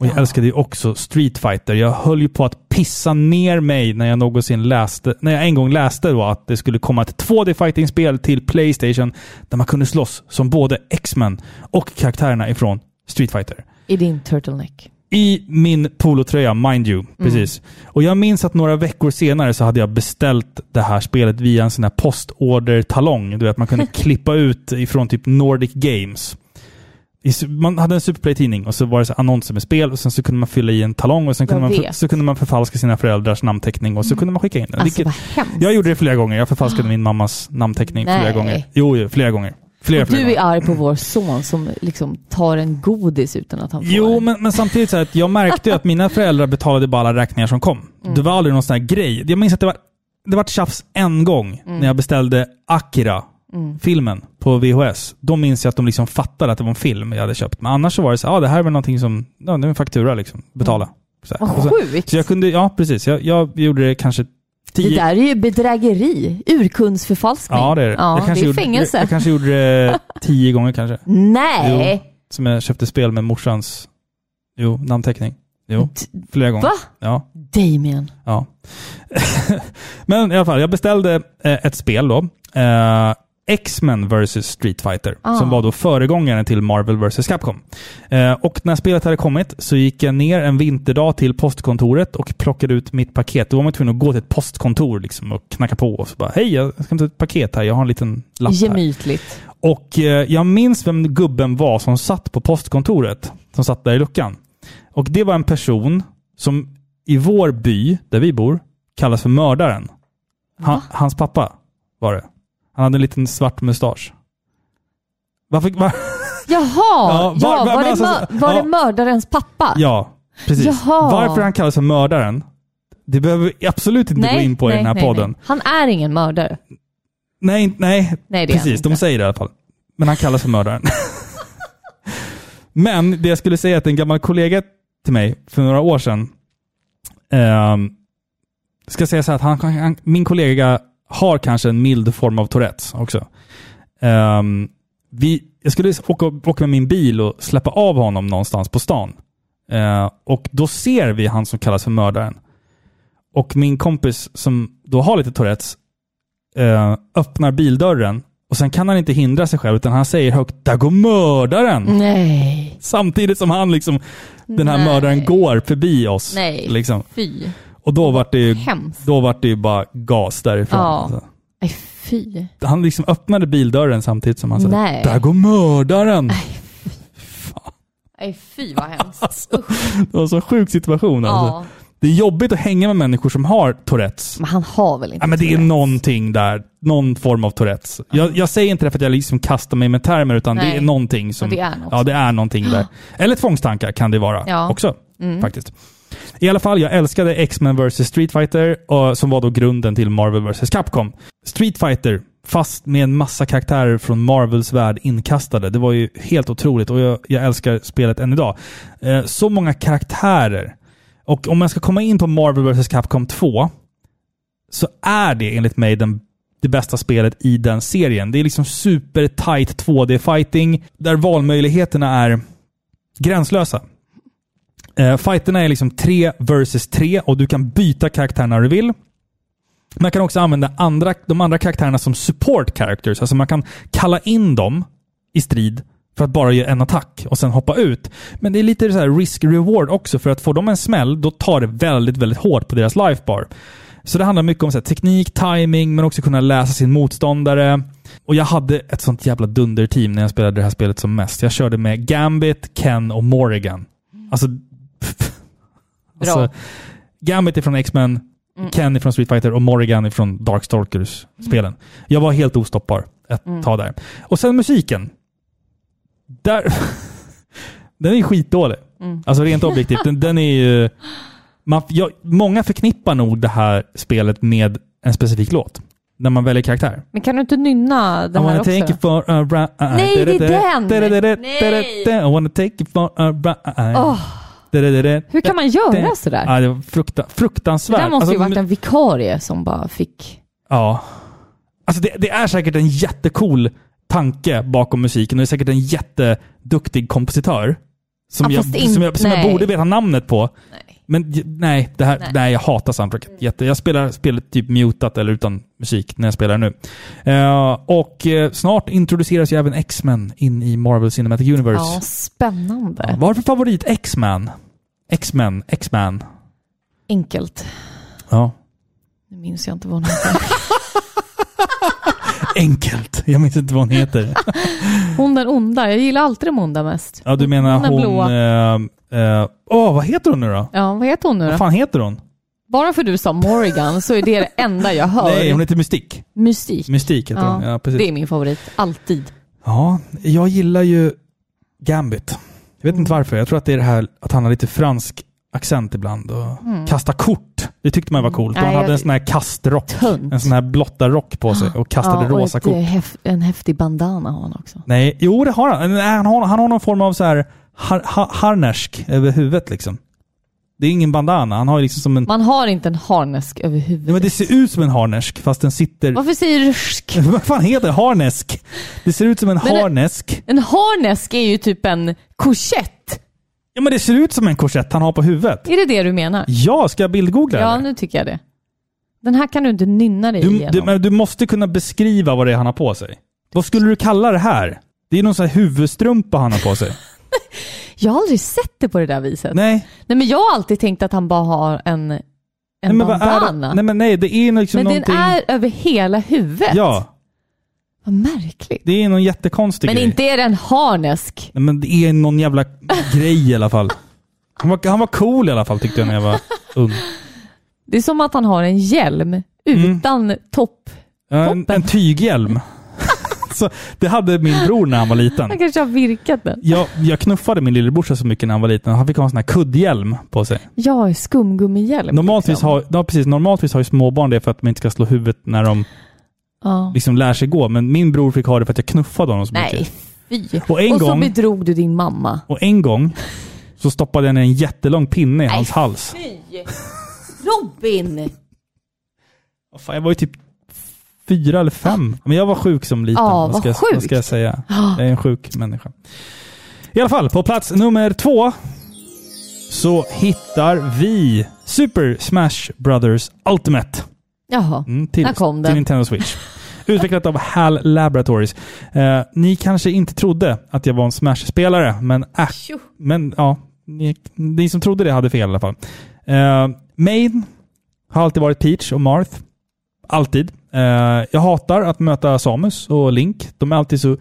och jag älskade ju också Street Fighter. Jag höll ju på att pissa ner mig när jag någonsin läste, när jag en gång läste då att det skulle komma ett 2D-fighting-spel till Playstation där man kunde slåss som både X-Men och karaktärerna ifrån Street Fighter.
I din turtleneck.
I min polotröja, mind you.
Mm.
Precis. Och jag minns att några veckor senare så hade jag beställt det här spelet via en sån här postordertalong. Du vet, man kunde klippa ut ifrån typ Nordic Games. I su- Man hade en Superplay-tidning och så var det så här annonser med spel och sen så kunde man fylla i en talong och sen kunde,
Jag
man, för-
vet.
så kunde man förfalska sina föräldrars namnteckning och så kunde man skicka in den.
Alltså
Vilket-
vad hemskt. Ah.
jag gjorde det flera gånger. Jag förfalskade min mammas namnteckning flera
Nej.
gånger. Jo, jo, flera gånger. Flera,
Och
flera
du
gånger.
är arg på vår son som liksom tar en godis utan att han får
Jo,
en.
men, men samtidigt så här att jag märkte ju att mina föräldrar betalade bara alla räkningar som kom.
Mm.
Det var aldrig någon sån här grej. Jag minns att det var, det var tjafs en gång
Mm.
när jag beställde Akira. Filmen på VHS. Då minns jag att de liksom fattade att det var en film jag hade köpt. Men annars så var det så här, ah, det här är väl någonting som, ja, det är en faktura liksom. Betala. Så, här.
Mm. Vad
Och så,
sjukt!
så jag kunde, ja precis. Jag, jag gjorde det kanske tio...
Det där är ju bedrägeri. Urkundsförfalskning.
Ja, det är det.
Ja,
jag kanske
det är
gjorde,
fängelse.
Jag, jag kanske gjorde det tio gånger kanske.
Nej!
Som jag köpte spel med morsans, jo, namnteckning. Jo,
D-
flera gånger.
Va?
Ja.
Damien.
Ja. Men i alla fall, jag beställde eh, ett spel då. Eh, X-Men vs Street Fighter,
Ah.
som var då föregångaren till Marvel vs Capcom. Eh, och när spelet hade kommit så gick jag ner en vinterdag till postkontoret och plockade ut mitt paket. Då var man tvungen att gå till ett postkontor liksom och knacka på och så bara Hej, jag ska hämta ett paket här. Jag har en liten lapp här.
Gemytligt.
Och eh, jag minns vem gubben var som satt på postkontoret. Som satt där i luckan. Och det var en person som i vår by, där vi bor, kallas för mördaren. Han, hans pappa var det. Han hade en liten svart mustasch. Varför... Var,
Jaha!
Ja,
Ja,
var-
var,
var- men
det,
alltså-
mör- var
ja.
det mördarens pappa?
ja, precis.
Jaha.
Varför han kallas för mördaren, det behöver vi absolut inte gå in på i den här podden.
Nej. Han är ingen mördare.
Nej, nej,
Nej, det är han
precis. De
inte.
säger det i alla fall. Men han kallas för mördaren. Men det jag skulle säga är att en gammal kollega till mig för några år sedan, ehm, ska säga så här att han, han, min kollega har kanske en mild form av Tourettes också. Ehm, vi, jag skulle åka, åka med min bil och släppa av honom någonstans på stan. Eh, och då ser vi han som kallas för mördaren. Och min kompis som då har lite Tourettes eh, öppnar bildörren och sen kan han inte hindra sig själv utan han säger högt “Där går mördaren!”
Nej.
Samtidigt som han liksom, den här
Mm. Nej.
mördaren går förbi oss.
Nej.
Liksom.
Fy.
Och då vart det ju,
Hemskt.
då vart det ju bara gas därifrån.
Ja.
Alltså.
Nej, fy.
Han liksom öppnade bildörren samtidigt som han sa
Nej.
“Där går mördaren!”
Nej, fy vad hemskt. Usch.
Det var en så sjuk situation. Alltså.
Ja.
Det är jobbigt att hänga med människor som har Tourettes.
Men han har väl inte
Ja, men det är
Tourettes?
någonting där. Någon form av Tourettes. Jag, jag säger inte det för att jag liksom kastar mig med termer, utan det
Nej.
är någonting som...
Ja, det är något.
Ja, det är någonting där. Eller tvångstankar kan det vara
Ja.
också,
Mm.
faktiskt. I alla fall, jag älskade X-Men vs. Street Fighter och, som var då grunden till Marvel vs. Capcom. Street Fighter, fast med en massa karaktärer från Marvels värld inkastade. Det var ju helt otroligt och jag, jag älskar spelet än idag. Eh, så många karaktärer. Och om man ska komma in på Marvel vs. Capcom 2 så är det enligt mig den det bästa spelet i den serien. Det är liksom super tight 2D-fighting där valmöjligheterna är gränslösa. Eh, fighterna är liksom tre versus tre och du kan byta karaktär när du vill. Man kan också använda andra, de andra karaktärerna som support characters. Alltså man kan kalla in dem i strid för att bara göra en attack och sen hoppa ut. Men det är lite så här risk-reward också, för att få dem en smäll, då tar det väldigt, väldigt hårt på deras lifebar. Så det handlar mycket om så här, teknik, timing, men också kunna läsa sin motståndare. Och jag hade ett sånt jävla dunderteam när jag spelade det här spelet som mest. Jag körde med Gambit, Ken och Morrigan. Alltså... alltså Gambit är från X-Men,
Mm.
Ken är från Street Fighter och Morrigan är från Darkstalkers-spelen.
Mm.
Jag var helt ostoppbar ett tag där. Och sen musiken. Där... den är skitdålig.
Mm.
Alltså rent objektivt. Den, den är ju... Man, jag, många förknippar nog det här spelet med en specifik låt. När man väljer karaktär.
Men kan du inte nynna den
I
här
wanna
också?
take you for a ride.
Nej, det är den!
den! I wanna take you for a ride.
Åh.
Da-da-da-da.
Hur kan man göra sådär?
Ja, det var frukta,
Det
fruktansvärt.
där måste ju
Alltså,
varit en vikarie som bara fick...
Ja. Alltså det, det är säkert en jättecool tanke bakom musiken och det är säkert en jätteduktig kompositör. Som,
Ja,
jag,
fast in-
som, jag, som jag
nej.
borde veta namnet på. Men j- nej, det här, nej. jag hatar soundtracket. Jätte, jag spelar spelet typ mutat eller utan musik när jag spelar nu. Eh, och eh, snart introduceras ju även X-Men in i Marvel Cinematic Universe.
Ja, spännande.
Vad är för favorit X-Man? X-Men, X-Man.
Enkelt.
Ja.
Nu minns jag inte vad hon heter.
Enkelt. Jag minns inte vad hon heter.
Hon den onda. Jag gillar alltid de onda mest.
Ja, du menar
Den
hon... eh,
blåa.
Åh, vad heter hon nu då?
Ja, vad heter hon nu
Vad
då?
fan heter hon?
Bara för du sa Morrigan så är det det enda jag hör.
Nej, hon heter Mystik.
Mystik.
Mystik heter hon. Ja, precis.
Det är min favorit. Alltid.
Ja, jag gillar ju Gambit. Jag vet inte varför. Jag tror att det är det här att han har lite fransk accent ibland och kasta kort. Det tyckte man var coolt. Och han
Mm. Nej,
hade
jag-
en sån här kastrock.
Tönt.
En sån här blotta rock på sig och kastade
och
rosa
ett, eh,
kort.
häf- en häftig bandana har han också.
Nej, jo det har han. Nej, Han har, han har någon form av så här har, har, harnesk över huvudet liksom. Det är ingen bandana. Han har ju liksom som en...
Man har inte en harnesk över
Nej,
huvudet.
men det ser ut som en harnesk fast den sitter...
Varför säger du rsk?
Vad fan heter det? Harnesk? Det ser ut som en
Men det-
harnesk.
En harnesk är ju typ en korsett.
Ja men det ser ut som en korsett han har på huvudet.
Är det det du menar?
Ja, ska jag bildgoogla
Ja,
eller?
nu tycker jag det. Den här kan du inte nynna dig
du,
igenom.
du, men du måste kunna beskriva vad det är han har på sig. Vad skulle du kalla det här? Det är någon sån här huvudstrumpa han har på sig.
Jag har aldrig sett det på det där viset. Nej,
nej,
men jag har alltid tänkt att han bara har en, en
nej, men vad är
bandana.
det? Nej, men nej, det är liksom
men
någonting...
den är över hela huvudet.
Ja,
Vad märkligt.
det är någon jättekonstig
Men
grej.
inte är det en harnesk.
Nej, men det är någon jävla grej i alla fall. Han var, han var cool i alla fall tyckte jag när jag var ung.
Det är som att han har en hjälm
Mm.
utan topp.
Ja, En, en tyghjälm. så, det hade min bror när han var liten.
Han kanske har virkat den.
Jag, jag knuffade min lillebrorsa så mycket när han var liten. Han fick ha en sån här kuddhjälm på sig.
Ja, skumgummihjälm.
Normaltvis
liksom.
har, ja, precis, normaltvis har ju småbarn det för att man inte ska slå huvudet när de
Ja.
liksom lär sig gå. Men min bror fick ha det för att jag knuffade honom så
Nej,
mycket.
fy.
Och en
Och så
gång-
bedrog du din mamma.
Och en gång så stoppade jag ner en jättelång pinne i hans hals.
Robin!
Vad Fan, jag var ju typ fyra eller fem. Men jag var sjuk som liten.
Ja,
vad, ska,
vad
jag- vad ska jag
sjukt.
säga? Jag är en sjuk människa. I alla fall, på plats nummer två så hittar vi Super Smash Brothers Ultimate.
Jaha,
Mm, till,
Där kom den.
till Nintendo Switch. Utvecklat av HAL Laboratories. Eh, ni kanske inte trodde att jag var en Smash-spelare, men, äh, men ja, ni, ni som trodde det hade fel i alla fall. Eh, main har alltid varit Peach och Marth. Alltid. Eh, jag hatar att möta Samus och Link. De är alltid så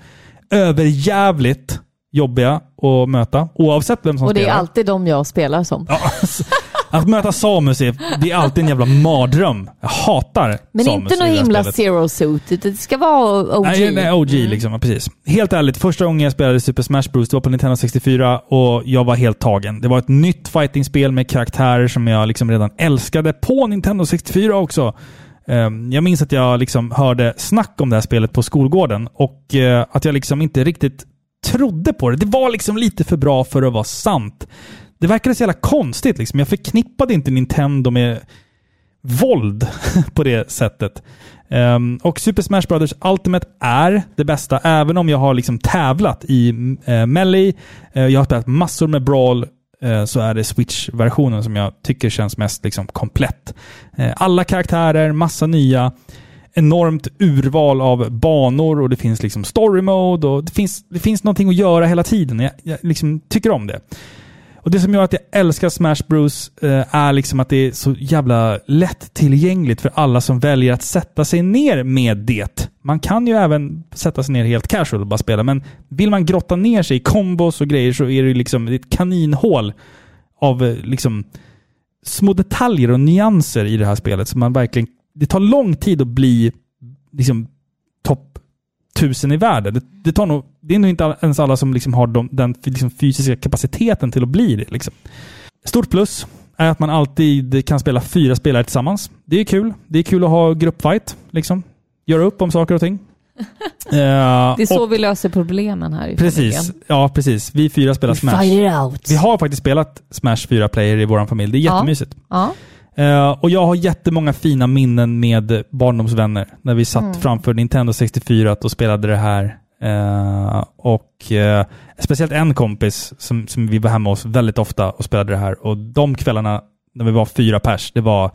överjävligt jobbiga att möta, oavsett vem som
och det är
spelar.
alltid de jag spelar som.
Ja, alltså, att möta Samus är, det är alltid en jävla mardröm. Jag hatar
Men
Samus
inte
i det
någon
här
himla
spelet.
zero suit, utan det ska vara OG.
Nej, nej, OG liksom. Ja, precis. Helt ärligt, första gången jag spelade Super Smash Bros. Det var på Nintendo 64 och jag var helt tagen. Det var ett nytt fightingspel med karaktärer som jag liksom redan älskade på Nintendo 64 också. Ehm, Jag minns att jag liksom hörde snack om det här spelet på skolgården och eh, att jag liksom inte riktigt trodde på det. Det var liksom lite för bra för att vara sant. Det verkade så jävla konstigt. Liksom. Jag förknippade inte Nintendo med våld på det sättet. Ehm, och Super Smash Brothers Ultimate är det bästa, även om jag har liksom tävlat i uh, Melee. Eh, jag har spelat massor med Brawl, eh, så är det Switch-versionen som jag tycker känns mest liksom, komplett. Eh, alla karaktärer, massa nya, enormt urval av banor och det finns liksom story mode och det finns, det finns någonting att göra hela tiden. Jag, jag liksom tycker om det. Och det som gör att jag älskar Smash Bros eh, är liksom att det är så jävla lättillgängligt för alla som väljer att sätta sig ner med det. Man kan ju även sätta sig ner helt casual och bara spela, men vill man grotta ner sig i kombos och grejer så är det liksom ett kaninhål av eh, liksom små detaljer och nyanser i det här spelet. Så man verkligen, det tar lång tid att bli liksom topp tusen i världen. Det, det, tar nog, det är nog inte all- ens alla som liksom har de, den f- liksom fysiska kapaciteten till att bli det. Liksom. Stort plus är att man alltid kan spela fyra spelare tillsammans. Det är kul. Det är kul att ha gruppfight. Liksom. Göra upp om saker och ting. Eh,
Det är så
och,
vi löser problemen här i
precis,
familjen.
ja, precis. Vi fyra spelar Smash.
Fight it out.
Vi har faktiskt spelat Smash fyra player i vår familj. Det är
Ja.
jättemysigt.
Ja.
Eh, och jag har jättemånga fina minnen med barndomsvänner. När vi
Mm.
satt framför Nintendo 64 och spelade det här. Eh, och eh, Speciellt en kompis som, som vi var hemma hos väldigt ofta och spelade det här. Och de kvällarna när vi var fyra pers, det var,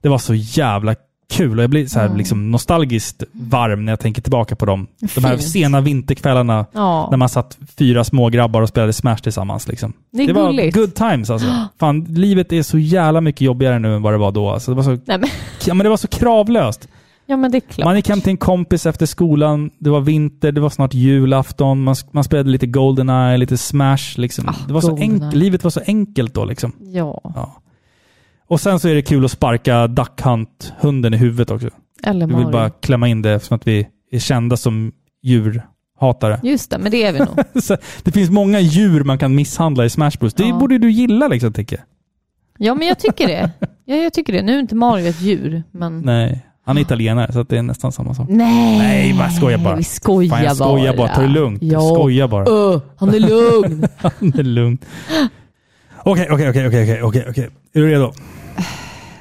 det var så jävla kul. Och jag blir så
Mm.
här, liksom nostalgiskt varm när jag tänker tillbaka på dem. De här
Fint.
sena vinterkvällarna när
ja.
man satt fyra små grabbar och spelade Smash tillsammans. Liksom.
Det är
det var
gulligt.
good times alltså. Fan, livet är så jävla mycket jobbigare nu än vad det var då. Alltså, det, var så,
Nej, men,
ja, men det var så kravlöst.
ja men det är klart.
Man gick hem till en kompis efter skolan, det var vinter, det var snart julafton, man, man spelade lite Goldeneye, lite Smash. Liksom.
Ah,
det var så
Goldeneye.
enk- livet var så enkelt då. Liksom.
Ja.
Och sen så är det kul att sparka Duck Hunt-hunden i huvudet också.
Eller
Vi vill
Mario.
bara klämma in det eftersom att vi är kända som djurhatare.
Just det, men det är vi nog.
Så det finns många djur man kan misshandla i Smash Bros. Det
Ja.
borde du gilla liksom, tänker jag.
Ja men jag tycker det. Ja, jag tycker det. Nu är inte Mario ett djur, men...
Nej, han är italienare så att det är nästan samma sak.
Nej!
Nej, vad jag skojar bara.
Vi skojar
Fan, jag skojar bara. Ta det lugnt.
Ja.
Skoja bara.
Öh, han är lugn.
Det är lugnt. Okej, okej, okej, okej, okej, okej, okej. Är du redo?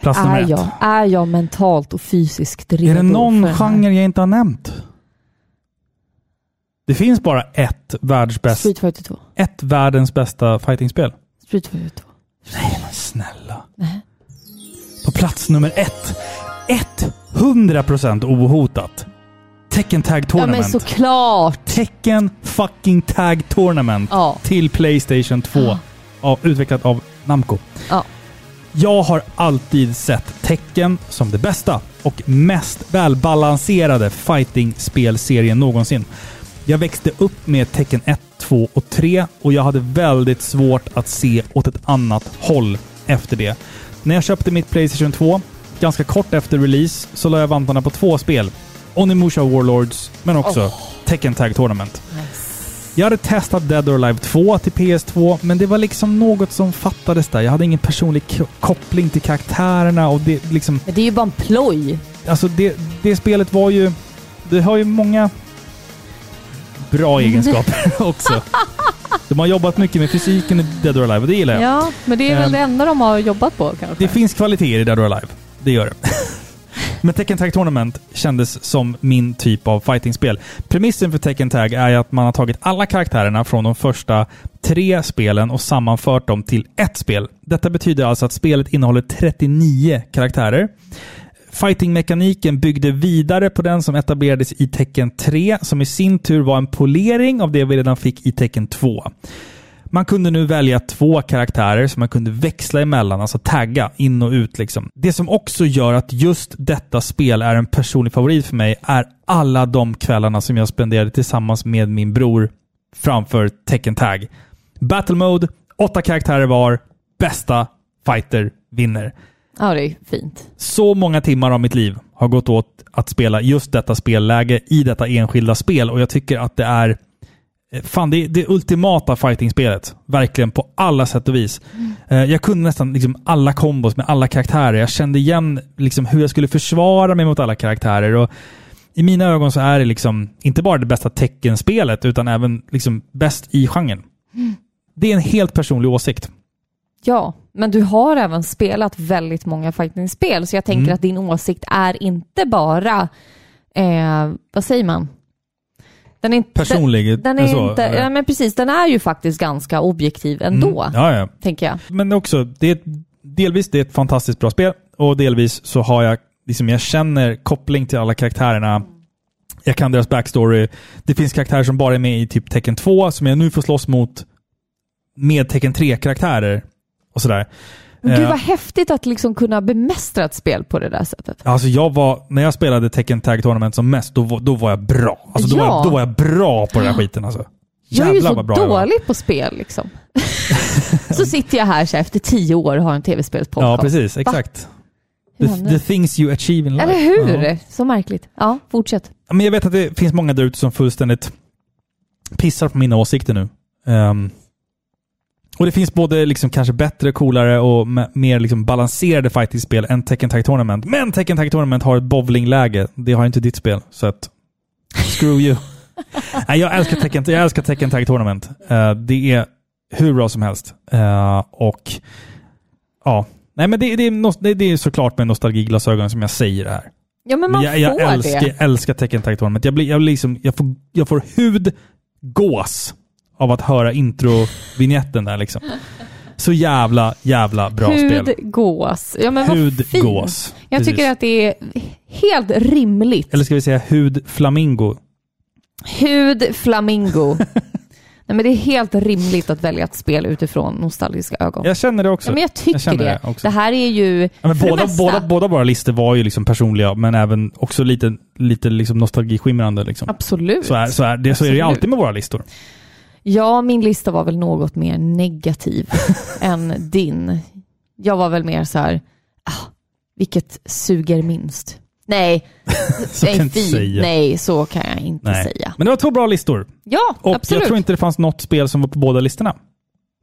Plats nummer
är,
ett.
jag, är jag mentalt och fysiskt redo?
Är det
för
någon
den här?
genre jag inte har nämnt? Det finns bara ett världsbäst,
Street Fighter 2.
ett världens bästa fightingspel.
Street Fighter 2.
Snälla. På plats nummer ett. 100% ohotat. Tekken Tag
Ja men
Tournament.
såklart!
Tekken fucking Tag Tournament
Ja.
till Playstation 2. Av, utvecklat av Namco.
Ja.
Jag har alltid sett Tekken som det bästa och mest välbalanserade fighting-spelserien någonsin. Jag växte upp med Tekken 1, 2 och 3 och jag hade väldigt svårt att se åt ett annat håll efter det. När jag köpte mitt Playstation 2, ganska kort efter release, så la jag vantarna på två spel. Onimusha Warlords, men också Tekken Tag Tournament. Jag hade testat Dead or Alive 2 till PS2, men det var liksom något som fattades där. Jag hade ingen personlig ko- koppling till karaktärerna och det liksom...
Men det är ju bara en ploj.
Alltså det, det spelet var ju... Det har ju många bra
Mm.
egenskaper också. De har jobbat mycket med fysiken i Dead or Alive och det gillar jag.
Ja, men det är väl
Ehm,
det enda de har jobbat på kanske.
Det finns kvaliteter i Dead or Alive. Det gör det. Men Tekken Tag Tournament kändes som min typ av fightingspel. Premissen för Tekken Tag är att man har tagit alla karaktärerna från de första tre spelen och sammanfört dem till ett spel. Detta betyder alltså att spelet innehåller 39 karaktärer. Fightingmekaniken byggde vidare på den som etablerades i Tekken 3, som i sin tur var en polering av det vi redan fick i Tekken 2. Man kunde nu välja två karaktärer som man kunde växla emellan, alltså tagga in och ut. Liksom. Det som också gör att just detta spel är en personlig favorit för mig är alla de kvällarna som jag spenderade tillsammans med min bror framför Tekken Tag. Battle Mode, åtta karaktärer var, bästa fighter vinner.
Ja, det är fint.
Så många timmar av mitt liv har gått åt att spela just detta spelläge i detta enskilda spel och jag tycker att det är eh, Fan, det är det ultimata fighting-spelet. Verkligen på alla sätt och vis. Eh, Jag kunde nästan liksom alla kombos med alla karaktärer. Jag kände igen liksom hur jag skulle försvara mig mot alla karaktärer. Och I mina ögon så är det liksom inte bara det bästa teckenspelet utan även liksom bäst i genren. Det är en helt personlig åsikt.
Ja, men du har även spelat väldigt många fighting-spel, så jag tänker
Mm.
att din åsikt är inte bara, eh, vad säger man? Den är inte,
Personlig,
Den, den är
så,
inte,
eller? Mm,
ja, men precis, den är ju faktiskt ganska objektiv ändå,
Ja, ja.
tänker jag.
Men också, det är ett, delvis det är ett fantastiskt bra spel och delvis så har jag, liksom jag känner koppling till alla karaktärerna. Jag kan deras backstory. Det finns karaktärer som bara är med i typ Tecken 2 som jag nu får slåss mot med Tecken 3-karaktärer och sådär.
Gud
Eh,
vad häftigt att liksom kunna bemästra ett spel på det där sättet.
Alltså jag var, när jag spelade Tekken Tag Tournament som mest, då, var- då var jag bra. Alltså då, var
Ja.
jag, då var jag bra på den här skiten alltså.
Jag är ju
Jävlar
så
vad bra jag var.
dålig på spel liksom. så sitter jag här så här, efter tio år och har en tv-spelspodcast.
Ja, precis. Exakt.
Hur
The,
hände
the
det?
things you achieve in life.
Eller hur?
Ja.
Så märkligt. Ja, fortsätt.
Ja, Men jag vet att det finns många där ute som fullständigt pissar på mina åsikter nu. Ehm, och det finns både liksom kanske bättre, coolare och me- mer liksom balanserade fighting-spel än Tekken Tag Tournament. Men Tekken Tag Tournament har ett bowlingläge. Det har inte ditt spel, så att... Screw you. Nej, jag älskar Tekken, jag älskar Tekken Tag Tournament. Eh, det är hur bra som helst. Eh, och... Ja. Nej, men det, det, är, nos- det, det är såklart med nostalgiglasögon som jag säger det här.
Ja, men
Men
man
jag, jag,
får
älskar,
det.
jag älskar Tekken Tag Tournament. Jag, blir, jag, blir liksom, jag, får, jag får hudgås av att höra introvinjetten där liksom. Så jävla, jävla bra spel.
Hudgås. Ja, men vad fint.
Hudgås.
Jag
Precis.
tycker att det är helt rimligt.
Eller ska vi säga hudflamingo?
Hud flamingo. Nej, men det är helt rimligt att välja ett spel utifrån nostalgiska ögon.
Jag känner det också.
ja, men jag tycker
känner
det.
det också.
Det här är ju...
Ja, men
för det
båda,
mesta-
båda, båda våra listor var ju liksom personliga, men även också lite, lite liksom nostalgiskimrande. Liksom.
Absolut.
Så, är, så, är, det, så är det ju
Absolut.
alltid med våra listor.
Ja, min lista var väl något mer negativ än din. Jag var väl mer så här, ah, vilket suger minst? Nej,
Så kan jag
nej,
inte
fy,
säga.
nej, så kan jag inte
Nej.
säga.
Men det var två bra listor.
Ja,
Och
absolut.
jag tror inte det fanns något spel som var på båda listorna.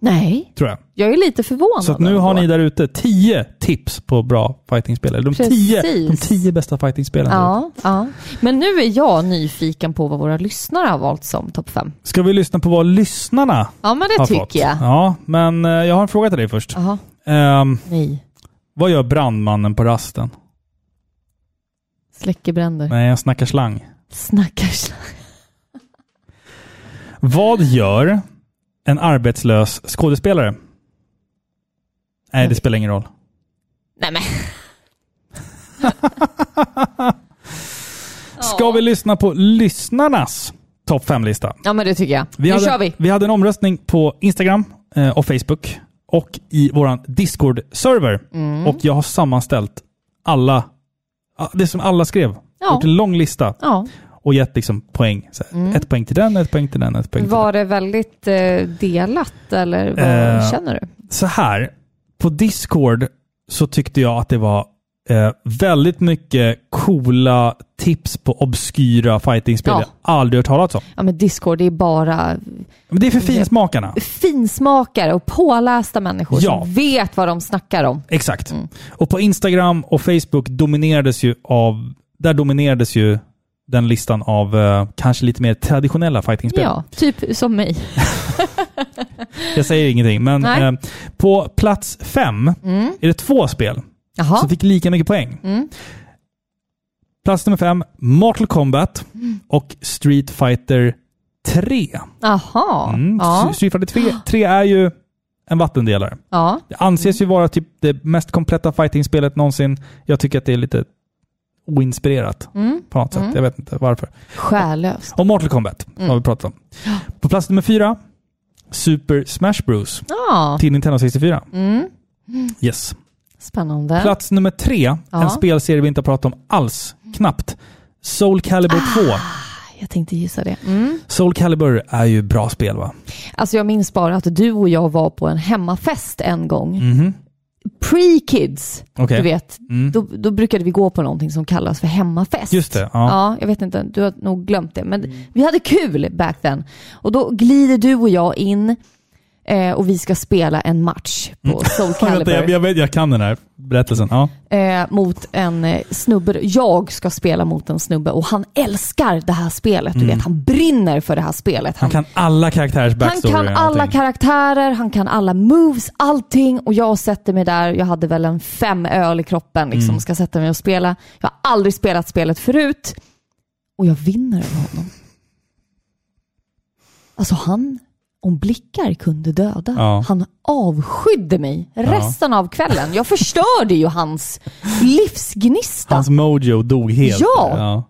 Nej,
Tror jag.
jag är lite förvånad.
Så att nu har
ändå.
ni där ute 10 tips på bra fightingspel. Eller de 10 de
Precis.
10 bästa fightingspelen.
Ja, ja. Men nu är jag nyfiken på vad våra lyssnare har valt som topp fem.
Ska vi lyssna på vad lyssnarna
Ja, men det
har
tycker
fått?
jag.
Ja, men eh, jag har en fråga till dig först.
Jaha,
Ehm,
nej.
vad gör brandmannen på rasten?
Släcker bränder.
Nej, jag snackar slang.
Snackars.
Vad gör en arbetslös skådespelare? Nej, det spelar ingen roll.
Nej men.
Ska vi lyssna på lyssnarnas topp 5-lista?
Ja, men det tycker jag. nu
hade,
kör vi.
hade en omröstning på Instagram eh, och Facebook och i vår Discord-server.
Mm.
Och jag har sammanställt alla, ah, det som alla skrev.
Ja.
Gjort en lång lista
Ja.
och gett liksom poäng. Så här,
Mm.
Ett poäng till den, ett poäng till den, ett poäng till den.
Var det väldigt eh, delat eller vad
Eh,
känner du?
Så här, på Discord så tyckte jag att det var eh, väldigt mycket coola tips på obskyra fightingspel
Ja.
jag aldrig hört talas om.
Ja men Discord det är bara
Men det är för finsmakarna.
finsmakare och pålästa människor
Ja.
som vet vad de snackar om.
Exakt. Och på Instagram och Facebook dominerades ju av, där dominerades ju den listan av eh, kanske lite mer traditionella fightingspel.
Ja, typ som mig.
Mm, Jag säger ingenting, men
Nej. Mm.
eh, på plats fem är det två spel
Jaha,
som fick lika mycket poäng.
Mm.
Plats nummer fem, Mortal Kombat
Mm.
och Street Fighter 3.
jaha.
Mm.
Ja.
S- Street Fighter 3, 3 är ju en vattendelare.
ja.
Det anses ju
Mm.
vara typ det mest kompletta fighting-spelet någonsin. Jag tycker att det är lite oinspirerat på något sätt. Jag vet inte varför.
Mm. Själlöst.
Och Mortal Kombat
Mm.
har vi pratat om. På plats nummer fyra, Super Smash Bros.
Ja, Mm.
Till Nintendo 64. Yes.
spännande.
Plats nummer tre,
Ja.
en spelserie vi inte har pratat om alls, knappt. Soul Calibur
Ah.
2.
Jag tänkte gissa det. Mm.
Soul Calibur är ju bra spel va?
Alltså jag minns bara att du och jag var på en hemmafest en gång. Pre-kids,
Mhm. Okej. Mm.
du vet. Då, då brukade vi gå på någonting som kallas för hemmafest.
Just det, ja. Mm.
Ja. jag vet inte, du har nog glömt det. Men vi hade kul back then. Och då glider du och jag in eh, och vi ska spela en match på Soul
Vänta,
Calibur.
jag, jag, vet, jag kan den här. berättelsen. Ja.
eh, mot en eh, snubbe. Jag ska spela mot en snubbe och han älskar det här spelet.
Mm.
Du vet, han brinner för det här spelet.
Han kan alla karaktärers
han
backstory.
kan
och allting.
alla karaktärer, han kan alla moves, allting. Och jag sätter mig där, jag hade väl en fem öl i kroppen, liksom,
Mm.
ska sätta mig och spela. Jag har aldrig spelat spelet förut. Och jag vinner över honom. Alltså han, om blickar kunde döda.
Ja.
Han avskydde mig resten av kvällen. Jag förstörde ju hans livsgnista.
Hans mojo dog helt.
Ja.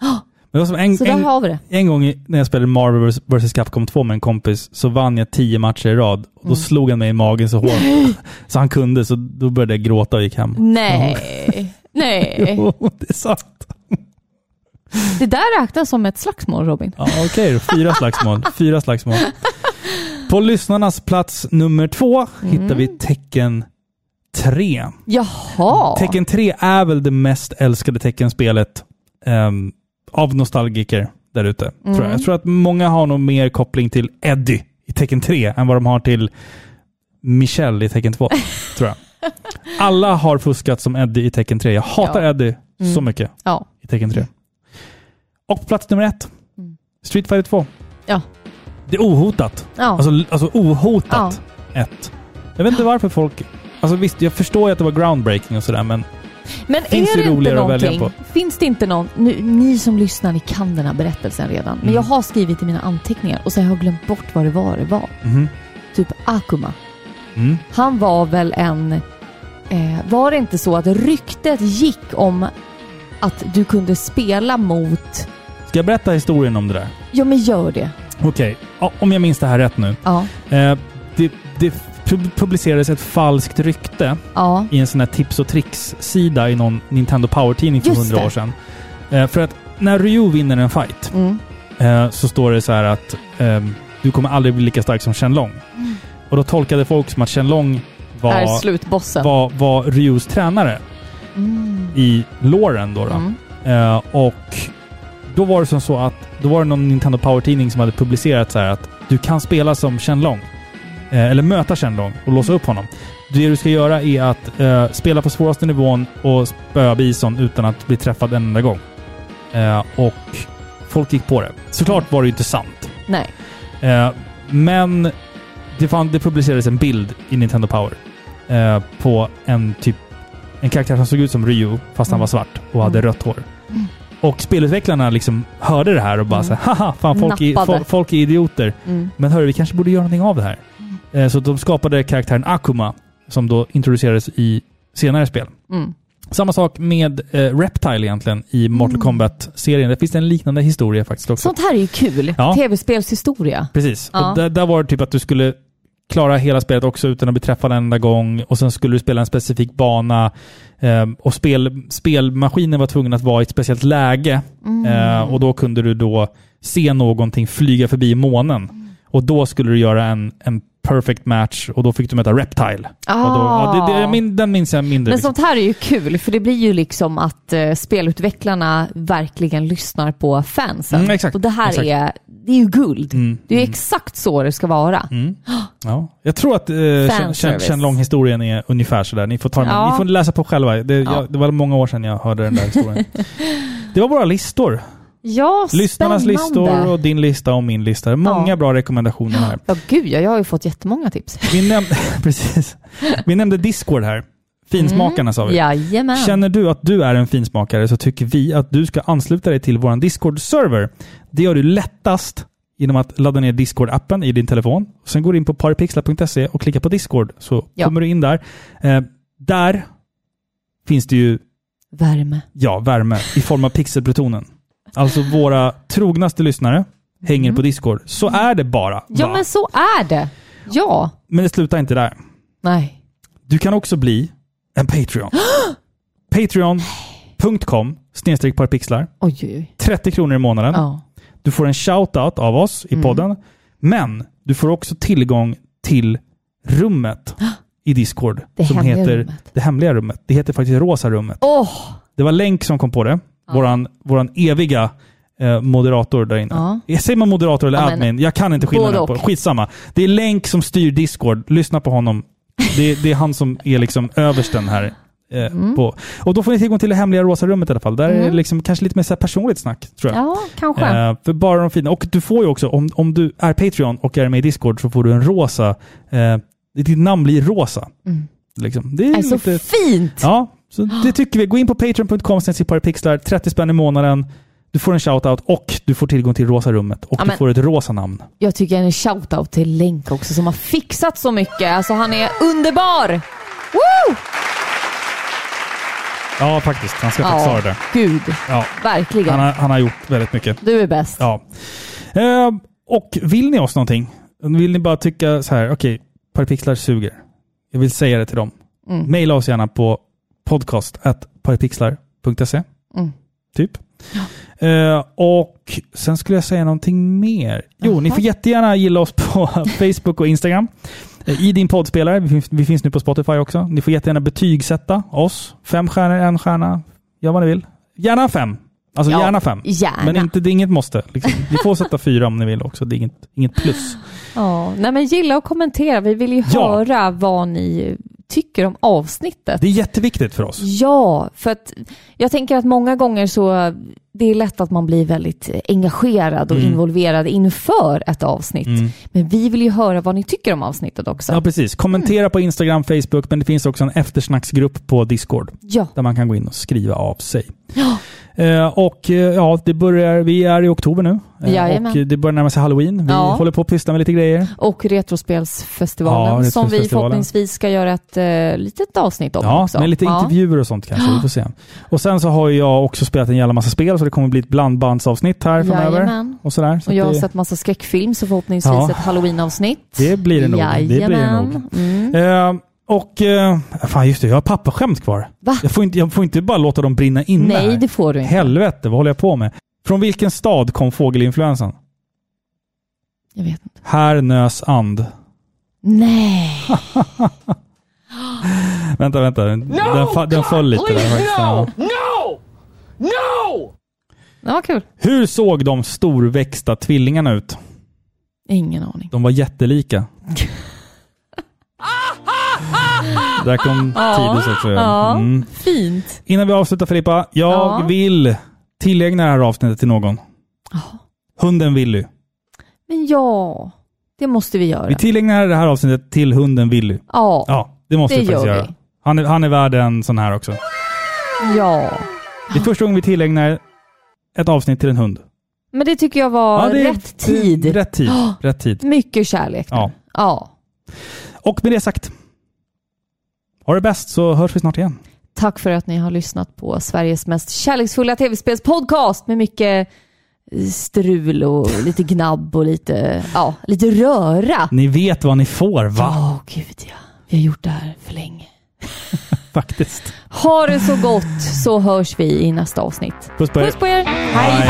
Men det var som en,
Så där
en,
har vi det.
en gång i- när jag spelade Marvel vs- vs Capcom 2 med en kompis så vann jag tio matcher i rad. Och
Mm.
då slog han mig i magen så hårt så han kunde, så då började jag gråta och gick hem.
Nej, nej.
Jo, det är sant.
Det där räknas som ett slagsmål Robin.
Ja, Okej då, fyra slagsmål. Fyra slagsmål. På lyssnarnas plats nummer två hittar vi
Mm.
tecken 3.
Jaha.
Tecken 3 är väl det mest älskade teckenspelet ehm, av nostalgiker där ute. Tror
Mm.
jag. jag tror att många har nog mer koppling till Eddie i tecken 3 än vad de har till Michelle i tecken 2. tror jag. Alla har fuskat som Eddie i tecken 3. Jag hatar
Ja.
Eddie
Mm.
så mycket
Ja.
i tecken 3. Och på plats nummer ett,
Mm.
Street Fighter 2.
Ja.
Det är ohotat.
Ja.
Alltså, alltså ohotat ett. Jag vet inte varför folk... Alltså visst, jag förstår ju att det var groundbreaking och sådär, men
Men
Finns
är
det
det inte
roligare att välja
någonting? Finns det inte någon... Nu, ni som lyssnar, ni kan den här berättelsen redan. Men
Mm.
jag har skrivit i mina anteckningar och så har jag glömt bort vad det var det var.
Mhm.
Typ Akuma.
Mm.
Han var väl en... Eh, var det inte så att ryktet gick om att du kunde spela mot...
Ska jag berätta historien om det där?
Ja, men gör det.
Okej, ja, om jag minns det här rätt nu.
Ja.
Eh, det, det pub- publicerades ett falskt rykte
Ja.
i en sån här tips och tricks-sida i någon Nintendo Power-tidning för
Just
hundra
det.
år sedan. Eh, för att när Ryu vinner en fight
Mm.
eh, så står det så här att ehm, du kommer aldrig bli lika stark som Chen Long. Och då tolkade folk som att Chen Long
Är
var,
slutbossen.
var, var Ryus tränare
Mm.
i låren då. då.
Mm.
Eh, och då var det som så att då var det någon Nintendo Power-tidning som hade publicerat så här att du kan spela som Chen Long. Eh, eller möta Chen Long och låsa upp honom. Det du ska göra är att eh, spela på svåraste nivån och spöa Bison utan att bli träffad en enda gång. Eh, och folk gick på det. Såklart var det ju inte sant.
Nej.
Eh, men det, fann, det publicerades en bild i Nintendo Power eh, på en typ en karaktär som såg ut som Ryu fast han
Mm.
var svart och hade
Mm.
rött hår. Och spelutvecklarna liksom hörde det här och bara
Mm.
så här, haha, fan folk är,
Nappade.
folk, folk är idioter.
Mm.
Men hörru, vi kanske borde göra någonting av det här. Eh, så de skapade karaktären Akuma som då introducerades i senare spel.
Mm.
Samma sak med eh, Reptile egentligen i Mortal
Mm.
Kombat-serien. Det finns en liknande historia faktiskt också.
Sånt här är ju kul.
Ja.
Tv-spelshistoria.
Precis.
Ja.
Och där, där var det typ att du skulle klara hela spelet också utan att bli träffad en enda gång och sen skulle du spela en specifik bana ehm, och spel, spelmaskinen var tvungen att vara i ett speciellt läge
Mm.
eh, och då kunde du då se någonting flyga förbi månen
Mm.
och då skulle du göra en, en perfect match och då fick du möta Reptile. Och då, ja, det, det, jag min, den minns jag mindre.
Ah. Men
liksom.
sånt här är ju kul, för det blir ju liksom att eh, spelutvecklarna verkligen lyssnar på fansen.
Mm, exakt,
och det här
exakt. Mm.
är, det är ju guld. det är ju exakt så det ska vara.
Ja. Jag tror att eh, Chen- Chen-
Fanservice.
Chen Long-historien är ungefär sådär. Ni får, ta den,
Ja.
ni får läsa på själva. Det,
Ja.
jag, det var många år sedan jag hörde den där historien. det var våra listor.
Ja,
Lyssnarnas
spännande.
listor och din lista och min lista. Många
Ja.
bra rekommendationer här.
Ja, gud ja, jag har ju fått jättemånga tips.
Vi, näm precis. vi nämnde Discord här. Finsmakarna sa vi.
Jajamän.
Känner du att du är en finsmakare så tycker vi att du ska ansluta dig till vår Discord-server. Det gör du lättast genom att ladda ner Discord-appen i din telefon. Sen går du in på paripixlar.se och klickar på Discord så
Ja.
kommer du in där. Eh, där finns det ju
Värme.
ja, värme i form av pixelplutonen. Alltså våra trognaste lyssnare hänger på Discord. Så är det bara.
Ja,
va?
men så är det. Ja.
men det slutar inte där.
Nej.
Du kan också bli en Patreon. Patreon.com snedstreck parpixlar.
Oj, oj, oj.
30 kronor i månaden.
Ja.
Du får en shout-out av oss
Mm.
i podden. Men du får också tillgång till rummet i Discord.
Det hemliga
heter
rummet.
Det hemliga rummet. Det heter faktiskt Rosa rummet.
Åh!
Det var Länk som kom på det. Våran, våran eviga eh, moderator där inne. Eh, Säger man moderator eller
Ja, men-
admin? Jag kan inte skillnaden
Både
på
och.
Skitsamma. Det är Länk som styr Discord. Lyssna på honom. Det, det är han som är liksom översten här. Eh,
Mm.
på. Och då får ni tillgång till det hemliga rosa rummet i alla fall. Där är det liksom, kanske lite mer så här personligt snack, tror jag.
Ja, kanske.
Eh, för bara de fina. Och du får ju också, om, om du är Patreon och är med i Discord, så får du en rosa. Eh, ditt namn blir rosa.
Mm.
Liksom. Det är
det är så
lite,
fint!
Ja, så
Ah.
det tycker vi. Gå in på patreon.com sen pixlar 30 spänn i månaden. Du får en shoutout och du får tillgång till rosa rummet och
Ja,
du
men-
får ett rosa namn.
Jag tycker en shoutout till Lenk också som har fixat så mycket. Alltså han är underbar! Woo!
Ja, faktiskt. Han ska faktiskt ha det.
gud.
Ja.
Verkligen.
Han, har, han har gjort väldigt mycket.
Du är bäst.
Ja. Eh, och vill ni oss någonting? Vill ni bara tycka så här, okej, Parapixlar suger. Jag vill säga det till dem. Maila oss gärna på podcast.parapixlar.se. Typ. Eh, och sen skulle jag säga någonting mer. Jo, ni får jättegärna gilla oss på Facebook och Instagram. Eh, I din poddspelare. Vi finns, vi finns nu på Spotify också. Ni får jättegärna betygsätta oss. Fem stjärnor, en stjärna. Gör vad ni vill. Gärna fem. Alltså
Ja,
gärna fem.
gärna.
Men inte, det är inget måste. Liksom. Ni får sätta fyra om ni vill också. Det är inget, inget plus.
Ja. Nej men gilla och kommentera. Vi vill ju
Ja.
höra vad ni tycker om avsnittet.
Det är jätteviktigt för oss.
Ja, för att jag tänker att många gånger så det är lätt att man blir väldigt engagerad och
Mm.
involverad inför ett avsnitt. Men vi vill ju höra vad ni tycker om avsnittet också.
Ja, precis. Kommentera på Instagram, Facebook, men det finns också en eftersnacksgrupp på Discord.
Ja.
Där man kan gå in och skriva av sig. Eh, och eh, ja, det börjar, vi är i oktober nu. Eh,
Jajamän.
och det börjar närma sig halloween. Vi
Ja.
håller på att pyssla med lite grejer.
Och Retrospelsfestivalen
Ja,
som vi
Retrospelsfestivalen.
förhoppningsvis ska göra ett eh, litet avsnitt om
Ja,
också.
med lite
Ja.
intervjuer och sånt kanske. Vi får se. Och sen så har ju jag också spelat en jävla massa spel, så det kommer bli ett blandbandsavsnitt här framöver.
Jajamän.
Och, sådär. Så
Och jag har
det,
sett massa skräckfilm så förhoppningsvis
Ja.
ett halloweenavsnitt.
det blir det nog. Det blir det nog.
Jajamän. Mm.
Eh, och... Eh, fan just det, jag har pappaskämt kvar.
Va?
Jag får, inte, jag får inte bara låta dem brinna inne här.
Nej, det får du inte.
Helvete, vad håller jag på med? Från vilken stad kom fågelinfluensan?
Jag vet inte.
Härnös and.
Nej.
Vänta, vänta. den, fa- den föll lite där faktiskt. Ja.
Det var kul.
Hur såg de storväxta tvillingarna ut?
Ingen aning.
De var jättelika. Där kom Tidus också.
Ja,
Mm.
fint.
Innan vi avslutar Filippa, jag
Ja.
vill tillägna det här avsnittet till någon. Hunden Willy.
Men ja, det måste vi göra.
Vi tillägnar det här avsnittet till hunden Willy.
Ja, ja.
Ja, det måste
Det
vi faktiskt
gör vi.
göra. Han är, han är värd en sån här också. Det är första gången vi tillägnar ett avsnitt till en hund.
Men det tycker jag var
det är-
rätt tid.
det är Rätt tid. Rätt tid.
Mycket kärlek.
Ja.
ja.
Och med det sagt, ha det bäst så hörs vi snart igen.
Tack för att ni har lyssnat på Sveriges mest kärleksfulla tv-spelspodcast med mycket strul och lite gnabb och lite, ja, lite röra.
Ni vet vad ni får, va?
Åh gud ja, vi har gjort det här för länge.
Faktiskt.
Ha det så gott så hörs vi i nästa avsnitt.
Puss på er.
Puss på er!
Hej.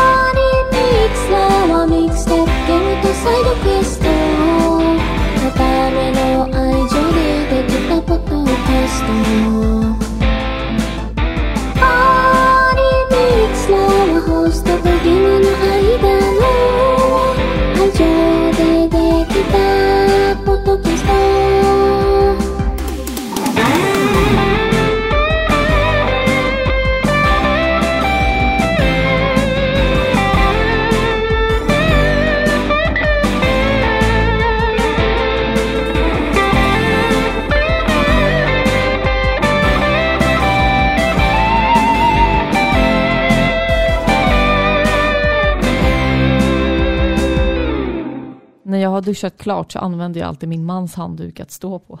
パーリミックスラはミックステッケンとサイドクエストのための愛情でできたポッドキャストパーリミックスラはホストとゲームの間の愛情でできたポッドキャスト
När jag har duschat klart så använder jag alltid min mans handduk att stå på.